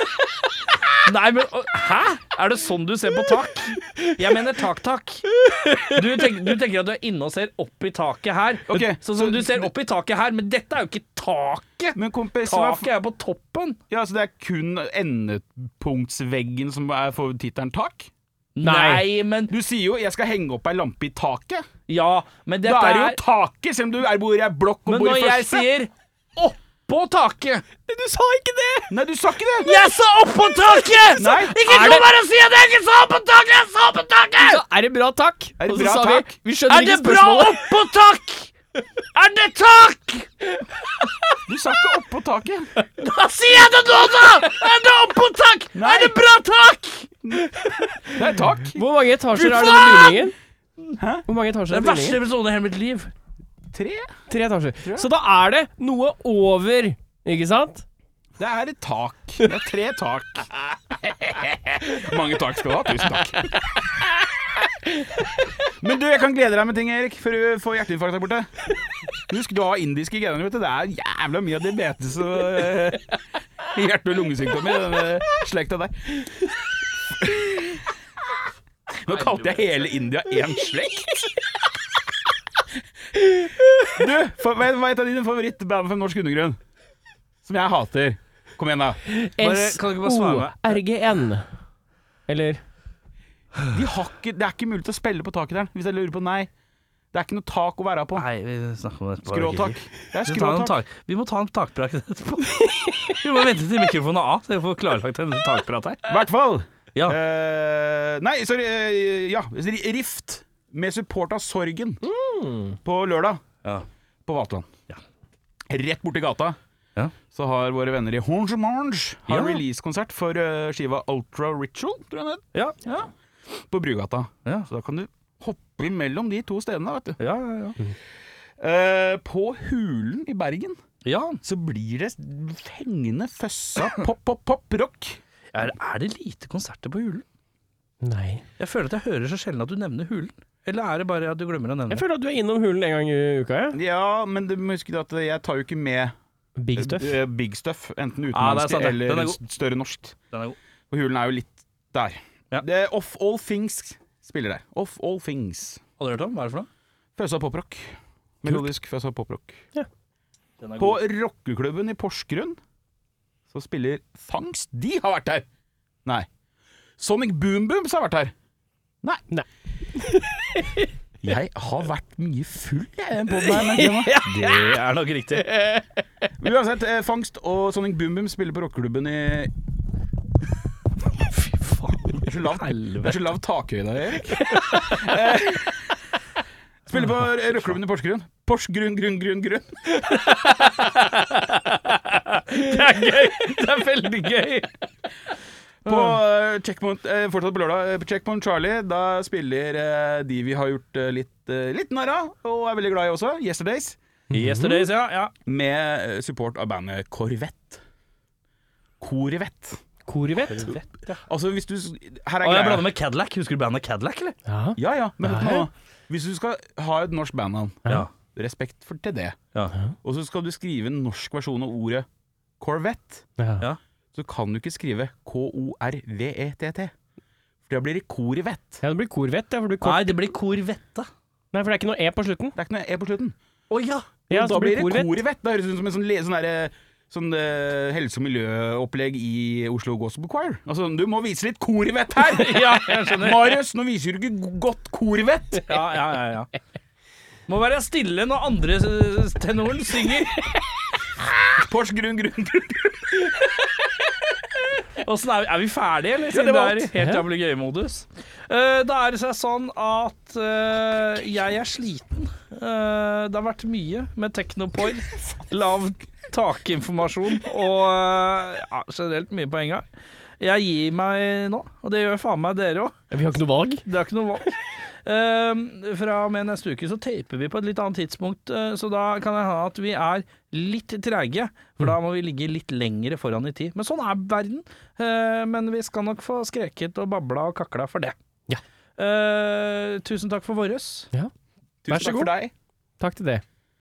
Speaker 2: Nei, men å, hæ? Er det sånn du ser på tak? Jeg mener tak-tak. Du, tenk, du tenker at du er inne og ser opp i taket her.
Speaker 3: Ok,
Speaker 2: sånn som
Speaker 3: så-
Speaker 2: du ser opp i taket her, men dette er jo ikke taket.
Speaker 3: Men kompis, hva f-
Speaker 2: Taket er på toppen.
Speaker 3: ja, så det er kun endepunktsveggen som er for tittelen tak?
Speaker 2: Nei, men
Speaker 3: Du sier jo 'jeg skal henge opp ei lampe i taket'.
Speaker 2: Ja, men
Speaker 3: Da
Speaker 2: dette
Speaker 3: er det jo
Speaker 2: er
Speaker 3: taket, selv om du er, bor i ei blokk og
Speaker 2: Men
Speaker 3: bor
Speaker 2: når
Speaker 3: i
Speaker 2: jeg
Speaker 3: første.
Speaker 2: sier oppå taket
Speaker 3: Du sa ikke det! Nei, du sa ikke det!
Speaker 2: Jeg sa oppå taket!
Speaker 3: Nei,
Speaker 2: ikke
Speaker 3: er
Speaker 2: kom
Speaker 3: det-
Speaker 2: her og si at jeg ikke sa oppå taket! Jeg sa oppå taket!
Speaker 4: Er det bra tak?
Speaker 3: Er det
Speaker 4: Og så
Speaker 3: bra
Speaker 4: sa
Speaker 3: tak?
Speaker 4: Vi, vi skjønner
Speaker 2: Er det
Speaker 4: ikke
Speaker 2: bra
Speaker 4: spørsmålet.
Speaker 2: oppå tak? Er det tak?
Speaker 3: Du sa ikke oppå taket.
Speaker 2: Da sier jeg det nå, da! Er det oppå tak?
Speaker 3: Nei.
Speaker 2: Er det bra tak?
Speaker 3: Det er tak.
Speaker 4: Hvor mange etasjer er denne bygningen? Hæ? Hvor mange etasjer
Speaker 2: Det
Speaker 4: er
Speaker 2: er
Speaker 4: bygningen?
Speaker 2: verste episoden i hele mitt liv.
Speaker 3: Tre.
Speaker 4: Tre etasjer. Så da er det noe over, ikke sant?
Speaker 3: Det er et tak. Det er tre tak. Mange tak skal du ha. Tusen takk. Men du, jeg kan glede deg med ting, Erik, før du får hjerteinfarkt der borte. Husk, du har indiske gener, vet du. Det er jævla mye av diabetes og eh, hjerte- og lungesykdommer i denne slekta der. Nå kalte jeg hele India én slekt. Du, fa- hva er hva er et av dine favorittband fra norsk undergrunn? Som jeg hater. Kom igjen, da.
Speaker 2: kan du ikke bare svare meg?
Speaker 4: S-O-R-G-N. Eller
Speaker 3: De har ikke, det er ikke mulig til å spille på taket der. Hvis jeg lurer på nei. Det er ikke noe tak å være på.
Speaker 2: Nei, vi snakker om dette
Speaker 3: Skråtak. Det
Speaker 2: Vi, tar en
Speaker 3: er skråtak.
Speaker 2: tak. vi må ta en takprat etterpå. Vi må vente til mikrofonen er av, så vi får klarlagt en takprat her.
Speaker 3: I hvert fall.
Speaker 2: Ja.
Speaker 3: Eh, nei, sorry. eh, ja. Rift med support av Sorgen på lørdag
Speaker 2: Mm. Ja.
Speaker 3: på Vatland.
Speaker 2: Ja.
Speaker 3: Rett borti gata.
Speaker 2: Ja.
Speaker 3: Så har våre venner i Horns Mange har
Speaker 2: Ja.
Speaker 3: releasekonsert for eh, skiva Ultra Ritual, tror jeg den het,
Speaker 2: Ja, ja,
Speaker 3: på Brugata.
Speaker 2: Ja.
Speaker 3: Så da kan du hoppe imellom de to stedene, vet du.
Speaker 2: ja. ja, ja.
Speaker 3: Eh, på Hulen i Bergen
Speaker 2: ja.
Speaker 3: så blir det fengende føssa pop-pop-pop-rock.
Speaker 2: Er, er det lite konserter på Hulen?
Speaker 4: Nei.
Speaker 2: Jeg føler at jeg hører så sjelden at du nevner Hulen. Eller er det bare at du glemmer å nevne det?
Speaker 4: Jeg føler at du er innom hulen en gang i uka, ja.
Speaker 3: Ja, men du må huske at jeg tar jo ikke med
Speaker 4: Big stuff.
Speaker 3: eh, big stuff. Enten
Speaker 2: Ja, Ah, det er
Speaker 3: utenlandsk
Speaker 2: sant, det. Den
Speaker 3: eller
Speaker 2: er
Speaker 3: s- større norsk.
Speaker 2: Den er god.
Speaker 3: Og Hulen er jo litt der.
Speaker 2: Ja.
Speaker 3: Det er Off All Things spiller der. Off All Things.
Speaker 2: Har du hørt om? Hva er det for noe?
Speaker 3: Føsa poprock. Melodisk føsa poprock.
Speaker 2: Den er
Speaker 3: På rockeklubben i Porsgrunn så spiller Fangst. De har vært her! Nei. Sonic Boom Booms har vært her. Nei.
Speaker 4: Nei.
Speaker 3: jeg har vært mye full, jeg, i den podden her, merker jeg nå.
Speaker 2: Det er nok riktig.
Speaker 3: Uansett, eh, Fangst og Sonic Boom Boom spiller på rockeklubben i Fy faen. Det er så lavt, det er så lavt takhøyde her, Erik. Eh, Spiller på rockeklubben i Porsgrunn. Porsgrunn, grunn, grunn, grunn.
Speaker 2: Det er gøy! Det er veldig gøy.
Speaker 3: På eh, Checkpoint, eh, fortsatt på lørdag, eh, på Checkpoint Charlie, da spiller eh, de vi har gjort eh, litt, eh, litt narr av, og er veldig glad i også, Yesterdays,
Speaker 2: Yesterdays, ja. ja.
Speaker 3: med eh, support av bandet Corvette. Corvette.
Speaker 4: Korivett.
Speaker 3: Altså, hvis du s- Her
Speaker 2: Og
Speaker 3: er
Speaker 2: jeg
Speaker 3: greia.
Speaker 2: blander med Cadillac. Husker du bandet Cadillac, eller?
Speaker 4: Ja.
Speaker 3: Ja, ja, men hør på nå. Hvis du skal ha et norsk bandnavn,
Speaker 2: Ja.
Speaker 3: Respekt for til det.
Speaker 1: Ja.
Speaker 3: Og så skal du skrive en norsk versjon av ordet Corvette.
Speaker 1: Ja.
Speaker 3: Så kan du ikke skrive K-O-R-V-E-T-T. E For da blir det Korvett.
Speaker 4: Ja, det blir korvett, ja, for det blir kort.
Speaker 2: Nei, det blir korvette.
Speaker 4: Nei, for det er ikke noe E på slutten.
Speaker 3: Det er ikke noe E på slutten.
Speaker 2: Å ja!
Speaker 4: Ja,
Speaker 3: da
Speaker 4: så
Speaker 3: blir det
Speaker 4: korvett.
Speaker 3: Korvett. Da høres det ut som en sånn, le- sånn derre- Sånn eh, helse- og miljøopplegg i Oslo Gospel Choir. Altså, du må vise litt korvett her!
Speaker 2: Ja, jeg skjønner.
Speaker 3: Marius, nå viser du ikke godt korvett!
Speaker 2: Ja, ja, ja, ja. Må være stille når andre eh, tenoren synger.
Speaker 3: Pors grunn, grunn, grunn.
Speaker 2: Åssen er, vi- er vi ferdige, eller? Siden
Speaker 3: var
Speaker 2: det,
Speaker 3: alt.
Speaker 2: er helt jævlig gøy-modus. Eh, da er det seg sånn at eh, jeg er sliten. Eh, det har vært mye med teknopor, lav takinformasjon og eh, ja, generelt mye på en gang. Jeg gir meg nå, og det gjør faen meg dere òg.
Speaker 4: Vi har ikke noe valg.
Speaker 2: Det er ikke noe valg. Ehm, fra og med neste uke så taper vi på et litt annet tidspunkt, eh, så da kan jeg ha at vi er litt treige. For
Speaker 4: Mm.
Speaker 2: da må vi ligge litt lengre foran i tid. Men sånn er verden. Eh, men vi skal nok få skreket og babla og kakla for det.
Speaker 4: Ja.
Speaker 2: Eh, tusen takk for vårres.
Speaker 4: Vær så
Speaker 3: Tusen takk
Speaker 4: god.
Speaker 3: for deg.
Speaker 4: Takk til det.